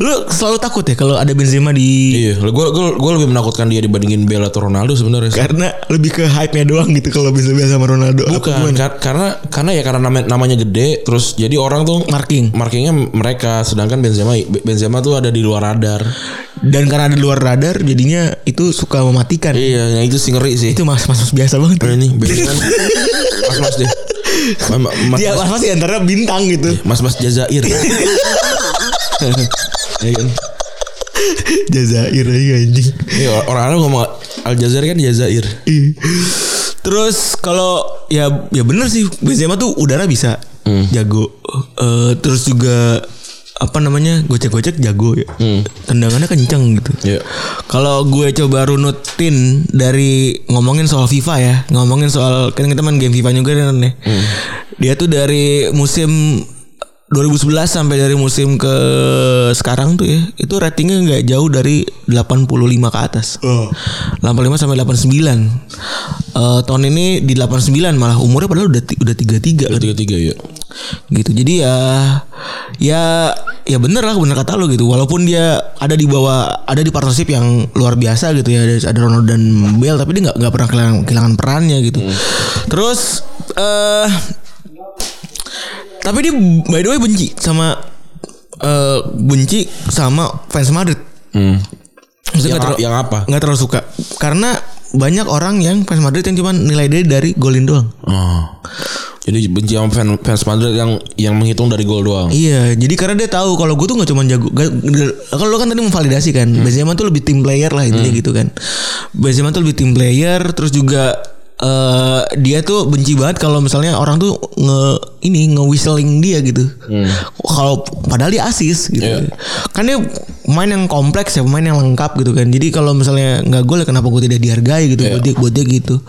Speaker 2: Lu selalu takut ya kalau ada Benzema di
Speaker 3: iya gue gue lebih menakutkan dia dibandingin Bella atau Ronaldo sebenarnya
Speaker 2: karena lebih ke hype-nya doang gitu kalau Benzema sama Ronaldo. Apa
Speaker 3: Bukan,
Speaker 2: gimana?
Speaker 3: kar- karena karena ya karena namanya, namanya gede terus jadi orang tuh
Speaker 2: Marking.
Speaker 3: markingnya mereka sedangkan Benzema Benzema tuh ada di luar radar.
Speaker 2: Dan karena ada di luar radar jadinya itu suka mematikan.
Speaker 3: Iya, yang itu sih ngeri sih.
Speaker 2: Itu mas-mas biasa banget.
Speaker 3: Nah, ini Benzema. Mas Mas deh. Mas Mas,
Speaker 2: Dia pas di antara bintang gitu.
Speaker 3: mas, mas Jazair. Iya kan?
Speaker 2: Jazair aja anjing.
Speaker 3: Iya, orang Arab ngomong Al Jazair kan Jazair.
Speaker 2: Ih. Terus kalau ya ya bener sih Benzema tuh udara bisa
Speaker 3: Hmm.
Speaker 2: jago. Eh, terus juga apa namanya gocek-gocek jago ya. Tendangannya kenceng gitu.
Speaker 3: Hmm. Iya.
Speaker 2: Kalau gue coba runutin dari ngomongin soal FIFA ya, ngomongin soal kan kita main game FIFA juga kan ya.
Speaker 3: Hmm.
Speaker 2: Dia tuh dari musim 2011 sampai dari musim ke sekarang tuh ya, itu ratingnya nggak jauh dari 85 ke atas.
Speaker 3: Oh.
Speaker 2: 85 sampai 89. Eh, tahun ini di 89 malah umurnya padahal udah ti- udah 33 kan
Speaker 3: Tiga tiga ya.
Speaker 2: gitu jadi ya ya ya bener lah bener kata lo gitu walaupun dia ada di bawah ada di partnership yang luar biasa gitu ya ada, ada Ronaldo dan Bale tapi dia nggak nggak pernah kehilangan, kehilangan perannya gitu terus eh tapi dia by the way benci sama eh benci sama fans Madrid Maksudnya
Speaker 3: Yang,
Speaker 2: nggak terlalu-
Speaker 3: yang apa?
Speaker 2: nggak terlalu suka karena banyak orang yang fans Madrid yang cuma nilai dia dari golin doang
Speaker 3: Oh. Jadi benci sama fan- fans Madrid yang yang menghitung dari gol doang.
Speaker 2: Iya, jadi karena dia tahu kalau gue tuh nggak cuma jago. ga- ga- Kalau lo kan tadi memvalidasi kan, Benzema tuh lebih team player lah intinya gitu kan. Benzema tuh lebih team player, terus juga eh dia tuh benci banget kalau misalnya orang tuh nge ini nge whistling dia gitu. Kalau padahal dia asis gitu. Kan dia pemain yang kompleks ya, pemain yang lengkap gitu kan. Jadi kalau misalnya nggak gol ya kenapa gue tidak dihargai gitu
Speaker 3: Iya.
Speaker 2: buat dia buat dia gitu.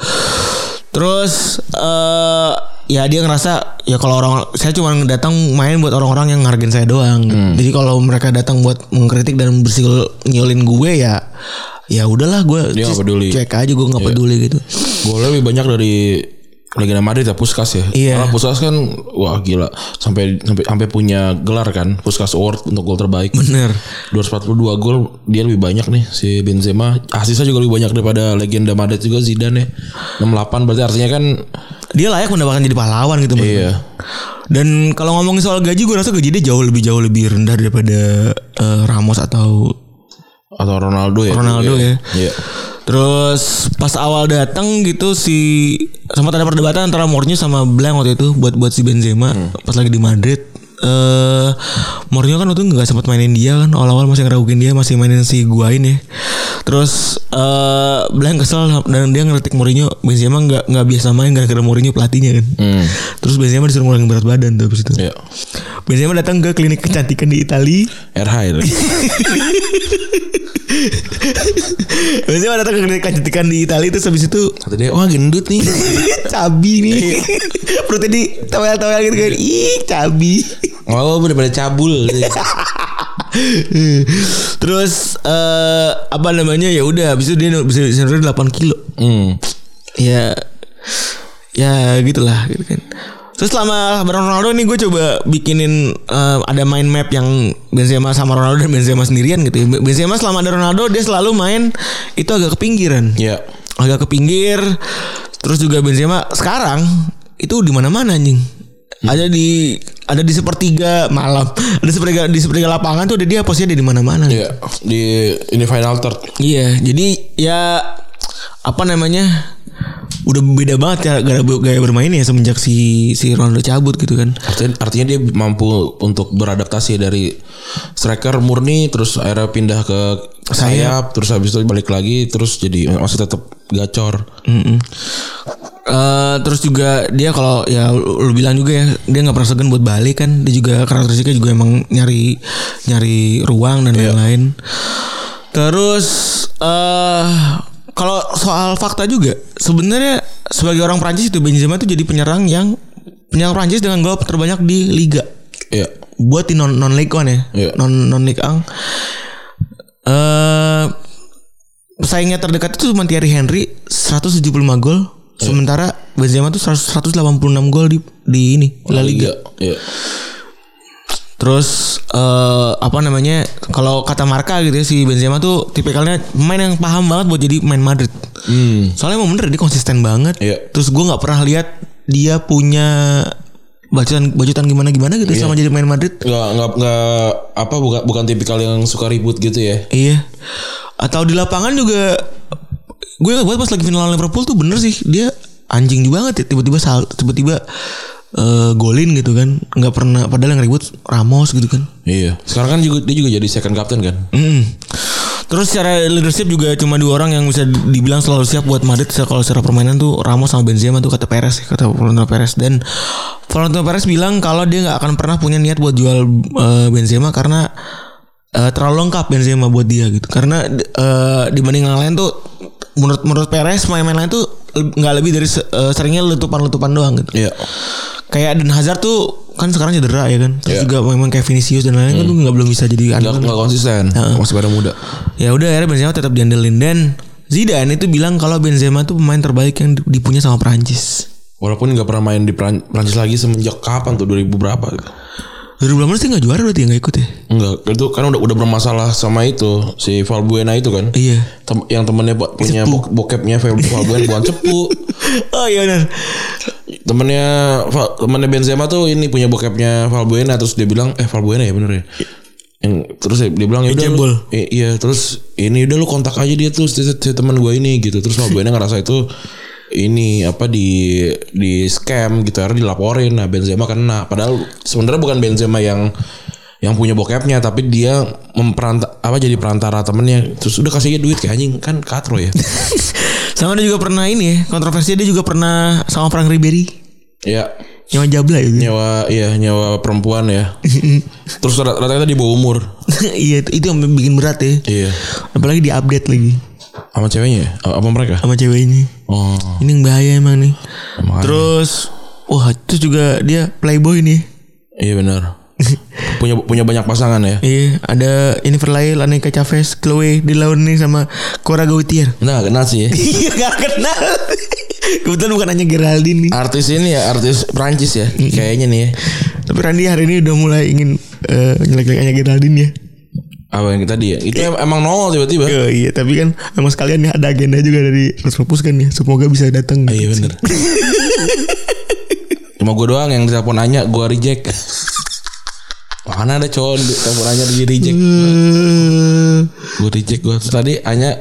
Speaker 2: Terus eh ya dia ngerasa ya kalau orang saya cuma datang main buat orang-orang yang ngargain saya doang.
Speaker 3: Hmm.
Speaker 2: Jadi kalau mereka datang buat mengkritik dan bersikul nyolin gue ya ya udahlah gue
Speaker 3: Dia nggak
Speaker 2: just
Speaker 3: peduli. Iya.
Speaker 2: cek aja gue nggak peduli gitu.
Speaker 3: Golnya lebih banyak dari legenda Madrid ya Puskas ya.
Speaker 2: Iya.
Speaker 3: Karena Puskas kan wah gila sampai sampai sampai punya gelar kan Puskas Award untuk gol terbaik.
Speaker 2: Bener.
Speaker 3: 242 gol dia lebih banyak nih si Benzema. Asisnya juga lebih banyak daripada legenda Madrid juga Zidane ya. 68 berarti artinya kan
Speaker 2: dia layak mendapatkan jadi pahlawan gitu menurut
Speaker 3: Iya.
Speaker 2: gua. Dan kalau ngomongin soal gaji gue rasa gaji dia jauh lebih jauh lebih rendah daripada eh, Ramos atau
Speaker 3: Atau Ronaldo ya.
Speaker 2: Ronaldo
Speaker 3: dulu
Speaker 2: ya.
Speaker 3: Iya.
Speaker 2: Terus pas awal datang gitu si sempat ada perdebatan antara Mourinho sama Blank waktu itu buat buat si Benzema pas lagi di Madrid. Eh Mourinho kan waktu itu nggak sempat mainin dia kan awal-awal masih ngeraguin dia masih mainin si Guain ya. Terus eh Blank kesel dan dia ngeritik Mourinho Benzema nggak nggak biasa main gara-gara Mourinho pelatihnya kan. Terus Benzema disuruh ngurangin berat badan tuh habis itu.
Speaker 3: Hmm. Iya.
Speaker 2: Benzema datang ke klinik kecantikan di Italia.
Speaker 3: RH ya.
Speaker 2: Benzema datang ke klinik kecantikan di Italia terus habis itu
Speaker 3: Kata dia, wah gendut nih.
Speaker 2: cabi nih perutnya di tawel-tawel gitu kan ih cabi
Speaker 3: Oh, daripada cabul.
Speaker 2: terus eh apa namanya ya udah habis itu dia bisa bisa 8 kilo
Speaker 3: hmm.
Speaker 2: ya ya gitulah gitu kan terus selama bareng Ronaldo nih gue coba bikinin eh, ada mind map yang Benzema sama Ronaldo dan Benzema sendirian gitu ya. Benzema selama ada Ronaldo dia selalu main itu agak ke pinggiran
Speaker 3: Iya.
Speaker 2: agak ke pinggir terus juga Benzema sekarang itu di mana-mana anjing ada di ada di sepertiga malam ada sepertiga di sepertiga lapangan tuh ada dia posnya ada di mana-mana
Speaker 3: Iya. Di ini final third.
Speaker 2: iya jadi ya apa namanya udah beda banget ya gaya, gaya bermainnya semenjak si si Ronaldo cabut gitu kan
Speaker 3: Artinya, artinya dia mampu untuk beradaptasi dari striker murni terus akhirnya pindah ke sayap terus habis itu balik lagi terus jadi masih tetap gacor.
Speaker 2: Eh, terus juga dia kalau ya lu lu bilang juga ya dia nggak pernah segan buat balik kan dia juga karakteristiknya juga emang nyari nyari ruang dan lain-lain terus eh kalau soal fakta juga sebenarnya sebagai orang Prancis itu Benzema itu jadi penyerang yang penyerang Prancis dengan gol terbanyak di liga
Speaker 3: Iya.
Speaker 2: buat di non non league one ya
Speaker 3: Iya.
Speaker 2: non non league ang eh pesaingnya terdekat itu cuma Thierry Henry 175 gol
Speaker 3: Iya.
Speaker 2: sementara Benzema tuh 100 186 gol di di ini La Liga.
Speaker 3: Iya.
Speaker 2: Terus eh apa namanya? Kalau kata Marka gitu ya si Benzema tuh tipikalnya pemain yang paham banget buat jadi main Madrid. Soalnya emang bener dia konsisten banget.
Speaker 3: Hmm. Iya.
Speaker 2: Terus gue nggak pernah lihat dia punya bacotan bacotan gimana gimana gitu
Speaker 3: Iya.
Speaker 2: selama jadi main Madrid.
Speaker 3: Nggak nggak nggak apa bukan bukan tipikal yang suka ribut gitu ya.
Speaker 2: Iya. Atau di lapangan juga gue buat pas lagi final lawan Liverpool tuh bener sih dia anjing juga banget ya tiba-tiba sal tiba-tiba eh, golin gitu kan nggak pernah padahal yang ribut Ramos gitu kan
Speaker 3: Iya. Sekarang kan juga dia juga jadi second captain kan.
Speaker 2: Mm. Terus secara leadership juga cuma dua orang yang bisa dibilang selalu siap buat Madrid Se- kalau secara permainan tuh Ramos sama Benzema tuh kata Perez ya, kata Florentino Perez dan Florentino Perez bilang kalau dia nggak akan pernah punya niat buat jual eh, Benzema karena eh, terlalu lengkap Benzema buat dia gitu karena eh, dibanding yang lain tuh menurut menurut Perez main-main lain tuh le- nggak lebih dari se- eh, seringnya letupan-letupan doang gitu
Speaker 3: Iya.
Speaker 2: kayak Eden Hazard tuh kan sekarang cedera ya kan terus juga memang kayak Vinicius dan lain-lain kan tuh nggak belum bisa jadi
Speaker 3: Nggak nggak konsisten. Masih pada muda.
Speaker 2: ya udah akhirnya Benzema tetap diandelin dan Zidane itu bilang kalau Benzema tuh pemain terbaik yang dipunya sama Prancis.
Speaker 3: Walaupun nggak pernah main di Peran- Prancis lagi semenjak kapan tuh 2000 berapa? gitu.
Speaker 2: 2018 sih nggak juara berarti ya, nggak ikut ya?
Speaker 3: Enggak, itu kan udah udah bermasalah sama itu si Valbuena itu kan.
Speaker 2: Iya.
Speaker 3: Tem- yang temennya bo- punya bok- bokepnya Val- Valbuena bukan cepu.
Speaker 2: Oh iya benar.
Speaker 3: Temennya Val- temennya Benzema tuh ini punya bokepnya Valbuena terus dia bilang eh Valbuena ya bener ya. Yang terus dia bilang ya udah lu-
Speaker 2: Jebol.
Speaker 3: i- iya terus ini udah lu kontak aja dia tuh si, si teman gua ini gitu. Terus Valbuena ngerasa itu ini apa di di scam gitu akhirnya dilaporin nah Benzema kena padahal sebenarnya bukan Benzema yang yang punya bokepnya tapi dia memperanta apa jadi perantara temennya terus udah kasih aja duit kayak anjing kan katro ya
Speaker 2: Sama dia juga pernah ini ya, kontroversinya dia juga pernah sama Frank Ribery.
Speaker 3: ya
Speaker 2: Nyawa jabla ya. gitu.
Speaker 3: nyawa iya nyawa perempuan ya terus rat- rata-rata di bawah umur
Speaker 2: Iya itu, itu yang bikin berat ya.
Speaker 3: iya
Speaker 2: Apalagi di update lagi
Speaker 3: sama ceweknya ya? A- apa mereka
Speaker 2: sama ceweknya.
Speaker 3: oh
Speaker 2: Ini yang bahaya emang nih.
Speaker 3: makanya.
Speaker 2: Terus wah itu juga dia playboy nih.
Speaker 3: iya benar punya punya banyak pasangan ya
Speaker 2: Iya, ada ini Verlail, Aneka Chavez, Chloe dilawan nih sama Cora Gautier.
Speaker 3: nah kenal sih ya.
Speaker 2: Iya gak kenal Kebetulan bukan hanya Geraldine nih
Speaker 3: artis ini ya artis Prancis ya kayaknya nih ya.
Speaker 2: Tapi Randy hari ini udah mulai ingin eh, Nyelek-nyelek hanya Geraldine ya
Speaker 3: apa yang tadi ya itu em- emang nol tiba-tiba
Speaker 2: Yo, Iya tapi kan Emang sekalian nih ada agenda juga dari Terus Pupus kan ya Semoga bisa datang
Speaker 3: iya benar Iya, Cuma gue doang yang ditelepon Anya gue reject. Mana ada cowok di telepon Anya di reject. gue reject gue. Terus tadi Anya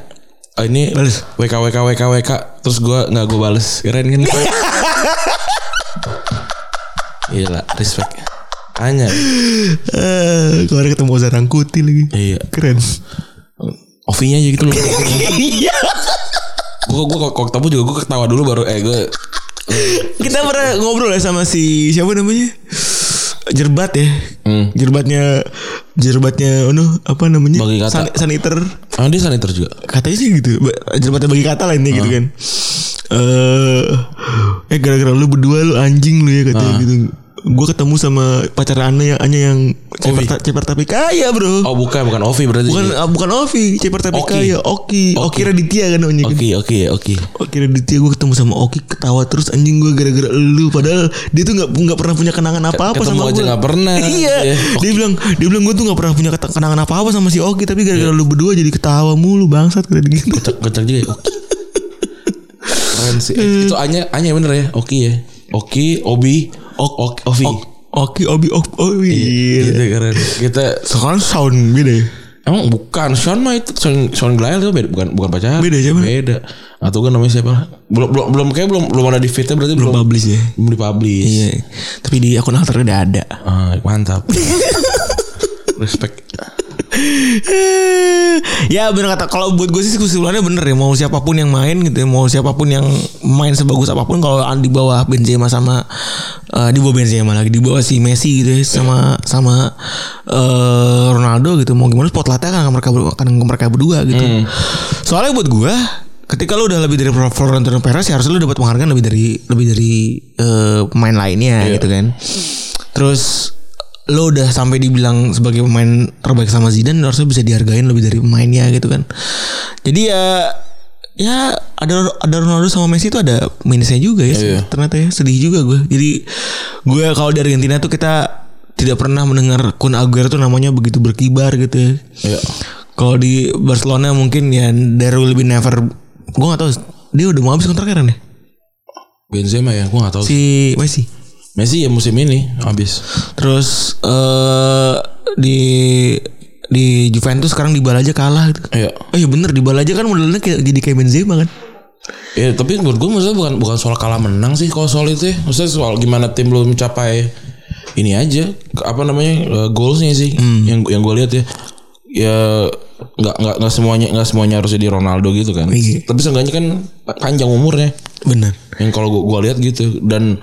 Speaker 3: oh, ini
Speaker 2: Bales.
Speaker 3: WK WK WK WK terus gue nggak gue bales. Keren kan? Gila, respect. Anya.
Speaker 2: Eh, kemarin ketemu Ozan Angkuti lagi.
Speaker 3: Iya.
Speaker 2: Keren.
Speaker 3: Ovinya aja gitu loh.
Speaker 2: Iya.
Speaker 3: gue gue kok ketemu juga gue ketawa dulu baru eh gue
Speaker 2: Kita pernah ngobrol ya sama si siapa namanya? Jerbat ya.
Speaker 3: Hmm.
Speaker 2: Jerbatnya jerbatnya anu apa namanya?
Speaker 3: Bagi kata.
Speaker 2: San- saniter.
Speaker 3: ah dia saniter juga
Speaker 2: Katanya sih gitu. Ba- Jerbatnya bagi kata lah ini gitu
Speaker 3: Oh.
Speaker 2: kan. Eh eh gara-gara lu berdua lu anjing lu ya katanya
Speaker 3: Ah.
Speaker 2: gitu. Gue ketemu sama pacar Ana yang Anya yang Ceperta, Ceperta Pikaya ya, bro.
Speaker 3: oh bukan bukan Ovi berarti
Speaker 2: Bukan ah, bukan Ovi, Ceperta
Speaker 3: Oki.
Speaker 2: Pikaya, Oki, Oki,
Speaker 3: Oki.
Speaker 2: Raditya kan namanya kan.
Speaker 3: Oke oke oke.
Speaker 2: Oke Raditya gue ketemu sama Oki ketawa terus anjing gue gara-gara elu padahal dia tuh nggak nggak pernah punya kenangan apa-apa
Speaker 3: Ketemu
Speaker 2: sama
Speaker 3: aja
Speaker 2: gue.
Speaker 3: nggak pernah.
Speaker 2: Iya.
Speaker 3: Iya.
Speaker 2: Dia bilang dia bilang gue tuh nggak pernah punya keta- kenangan apa-apa sama si Oki tapi
Speaker 3: Iya.
Speaker 2: gara-gara lu berdua jadi ketawa mulu bangsat kata dia gitu.
Speaker 3: Kocak kocak juga. ya, Oki. Keren sih. Eh, Itu Anya Anya bener ya. Oki ya. Oki Obi Ok Ok Ovi.
Speaker 2: Ok- Oki Obi Oki. Obi. Iya,
Speaker 3: Gitu keren. Kita
Speaker 2: Sekarang sound beda ya.
Speaker 3: emang bukan Sean mah itu Sean Sean Glael itu beda bukan bukan pacar.
Speaker 2: Beda siapa?
Speaker 3: Beda. Atau kan namanya siapa? Belum belum belum kayak belum belum ada di fitnya berarti belum belum,
Speaker 2: Publish ya.
Speaker 3: dipublish.
Speaker 2: Iya. Tapi di akun alter udah ada.
Speaker 3: Ah, mantap. Respect.
Speaker 2: ya bener kata kalau buat gue sih kesimpulannya bener ya mau siapapun yang main gitu ya, mau siapapun yang main sebagus apapun kalau di bawah Benzema sama eh, di bawah Benzema lagi di bawah si Messi gitu ya sama sama eh, Ronaldo gitu mau gimana spotlightnya kan ke mereka ber- kan ke mereka berdua gitu soalnya buat gue ketika lu udah lebih dari Florentino Perez ya harusnya lu dapat penghargaan lebih dari lebih dari eh, pemain lainnya gitu kan terus lo udah sampai dibilang sebagai pemain terbaik sama Zidane harusnya bisa dihargain lebih dari pemainnya gitu kan jadi ya ya ada ada Ronaldo sama Messi itu ada minusnya juga ya ternyata ya sedih juga gue jadi gue kalau di Argentina tuh kita tidak pernah mendengar Kun Aguero tuh namanya begitu berkibar gitu ya
Speaker 3: Iya.
Speaker 2: kalau di Barcelona mungkin ya there will be never gue gak tahu dia udah mau habis kontraknya kan ya
Speaker 3: Benzema ya, gua gak tahu.
Speaker 2: si Messi
Speaker 3: Messi ya musim ini habis.
Speaker 2: Terus eh di di Juventus sekarang Dybala aja kalah gitu.
Speaker 3: Iya.
Speaker 2: Oh iya bener Dybala aja kan modelnya kayak jadi kayak Benzema kan.
Speaker 3: Ya, tapi menurut gue maksudnya bukan bukan soal kalah menang sih kalau soal itu ya. Maksudnya soal gimana tim lu mencapai ini aja ke- apa namanya uh, goalsnya sih yang yang gue lihat ya ya nggak nggak nggak semuanya nggak semuanya harus jadi Ronaldo gitu kan
Speaker 2: Iya.
Speaker 3: tapi seenggaknya kan pa- panjang umurnya
Speaker 2: Bener.
Speaker 3: yang kalau gue gua lihat gitu dan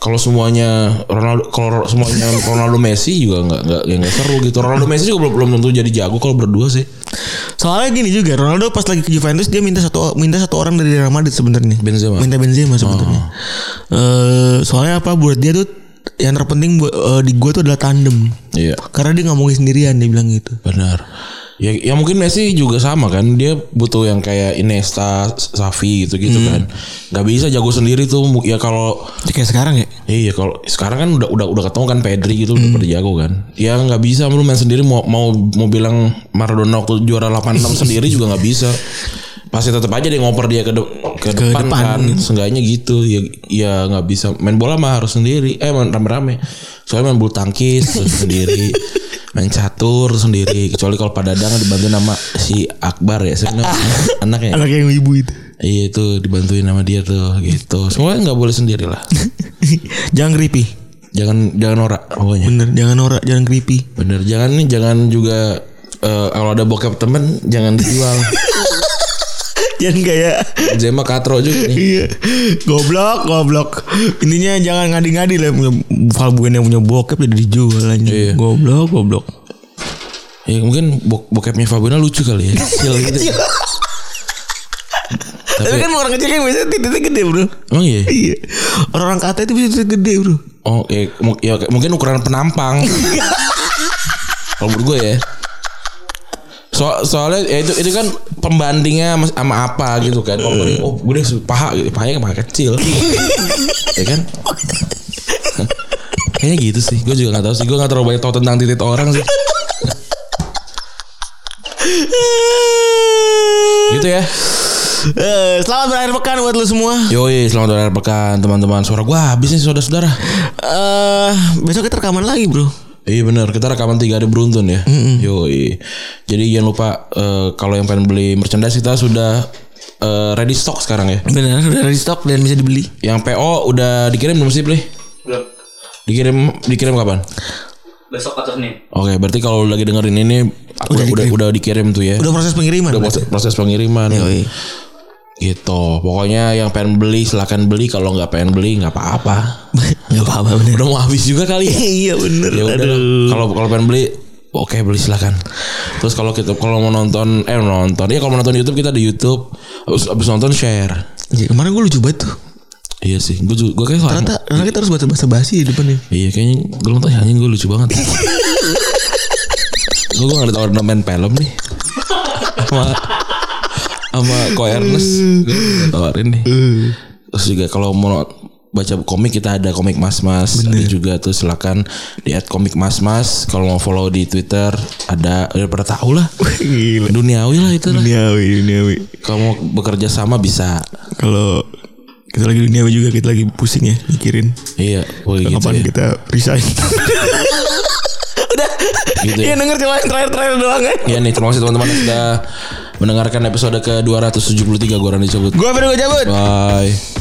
Speaker 3: kalau semuanya Ronaldo kalau semuanya Ronaldo Messi juga nggak nggak ya nggak seru gitu Ronaldo Messi juga belum belum tentu jadi jago kalau berdua sih
Speaker 2: Soalnya gini juga Ronaldo pas lagi ke Juventus dia minta satu minta satu orang dari Real Madrid sebenarnya.
Speaker 3: Benzema.
Speaker 2: Minta Benzema Oh. sebenarnya. Eh, soalnya apa buat dia tuh yang terpenting buat eh, di gua tuh adalah tandem.
Speaker 3: iya
Speaker 2: Karena dia nggak mau sendirian dia bilang gitu.
Speaker 3: Benar. Ya, ya mungkin Messi juga sama kan. Dia butuh yang kayak Iniesta, Xavi gitu-gitu kan. Gak bisa jago sendiri tuh. Mu- Ya kalau
Speaker 2: Jadi kayak sekarang ya.
Speaker 3: iya kalau sekarang kan udah udah udah ketemu kan Pedri gitu udah pada jago kan. Ya nggak bisa lu main sendiri mau mau mau bilang Maradona waktu juara 86 sendiri juga nggak bisa. Pasti tetap aja dia ngoper dia ke de- ke, depan,
Speaker 2: depan,
Speaker 3: kan. Seenggaknya gitu. Ya ya nggak bisa main bola mah harus sendiri. Eh main rame-rame. Soalnya main bulu tangkis terus sendiri. Main catur sendiri kecuali kalau padadang dibantu nama si Akbar ya. Saya anaknya.
Speaker 2: Anak yang ibu itu.
Speaker 3: Iya itu dibantuin sama dia tuh gitu. Semuanya nggak boleh sendiri lah.
Speaker 2: jangan creepy.
Speaker 3: jangan jangan norak pokoknya. Bener.
Speaker 2: Bener, jangan norak, jangan creepy.
Speaker 3: Jangan nih jangan juga eh, kalau ada bokap temen jangan dijual.
Speaker 2: jangan kayak
Speaker 3: Jema katro juga nih.
Speaker 2: Iya. Goblok, goblok. Intinya jangan ngadi-ngadi lah punya Valbuena yang punya bokep jadi dijual aja.
Speaker 3: Iya.
Speaker 2: Goblok, goblok.
Speaker 3: Ya mungkin bok bokapnya Fabina lucu kali ya. Kecil
Speaker 7: Iya.
Speaker 3: gitu.
Speaker 2: Tapi, kan orang kecil kan biasanya titiknya gede, Bro.
Speaker 3: Emang iya.
Speaker 2: Iya. Orang-orang kata itu bisa titik gede, Bro.
Speaker 3: Oh, ya, mu- ya, mungkin ukuran penampang. kalau menurut gue ya. So, soalnya ya itu itu kan pembandingnya sama- sama apa gitu kan. Kalau gue, oh, gue deh paha gitu. Pahanya paha kecil. ya kan? Kayaknya gitu sih. Gue juga gak tahu sih. Gue gak terlalu banyak tahu tentang titik orang sih. gitu ya.
Speaker 7: Eh, selamat berakhir pekan buat lu semua.
Speaker 3: Yoi, selamat berakhir pekan teman-teman. Suara gua habis nih saudara-saudara.
Speaker 7: Eh, besok kita rekaman lagi, Bro.
Speaker 3: Iya benar, kita rekaman tiga hari beruntun ya. Yoi. Jadi jangan lupa eh, kalau yang pengen beli merchandise kita sudah eh, ready stock sekarang ya.
Speaker 7: Benar, udah di stok dan bisa dibeli.
Speaker 3: Yang PO udah dikirim belum sih, Bli? Dikirim dikirim kapan?
Speaker 9: besok atau Senin.
Speaker 3: Oke, berarti kalau lagi dengerin ini udah udah, udah dikirim tuh ya.
Speaker 7: Udah proses pengiriman.
Speaker 3: Udah proses, proses pengiriman.
Speaker 7: Yoi.
Speaker 3: Gitu. Pokoknya yang pengen beli silahkan beli, kalau nggak pengen beli nggak apa-apa.
Speaker 7: Enggak apa-apa benar.
Speaker 3: Udah mau habis juga kali ya.
Speaker 7: Iya bener
Speaker 3: ya udah kalau kalau pengen beli oke beli silakan terus kalau kita kalau mau nonton eh nonton ya kalau mau nonton YouTube kita di YouTube abis, abis nonton share
Speaker 2: Iya.
Speaker 7: Ya, kemarin gue lucu banget tuh.
Speaker 3: iya sih gue juga gue kayak soalnya-
Speaker 7: Ternyata karena kita harus bahasa basi di ya. depannya.
Speaker 3: iya kayaknya gue nonton anjing gue lucu banget gue gue nggak ditawarin main film nih sama sama Ko Ernest gue nggak tawarin nih terus juga kalau mau baca komik kita ada komik mas mas ada juga tuh silakan di add komik mas mas kalau mau follow di twitter ada udah pada tahu lah
Speaker 2: Gila.
Speaker 3: duniawi lah itu lah
Speaker 2: Duniawi, duniawi.
Speaker 3: kalau mau bekerja sama bisa
Speaker 2: Kalau kita lagi duniawi juga kita lagi pusing ya mikirin
Speaker 3: iya boleh gitu
Speaker 2: kapan
Speaker 3: ya.
Speaker 2: kita resign.
Speaker 3: gitu
Speaker 2: Iya,
Speaker 3: ya.
Speaker 7: Iya, denger cuma terakhir-terakhir doang kan.
Speaker 3: ya nih terima kasih teman-teman yang sudah mendengarkan episode ke 273 gue Randy cabut
Speaker 7: Gue baru gue cabut.
Speaker 3: bye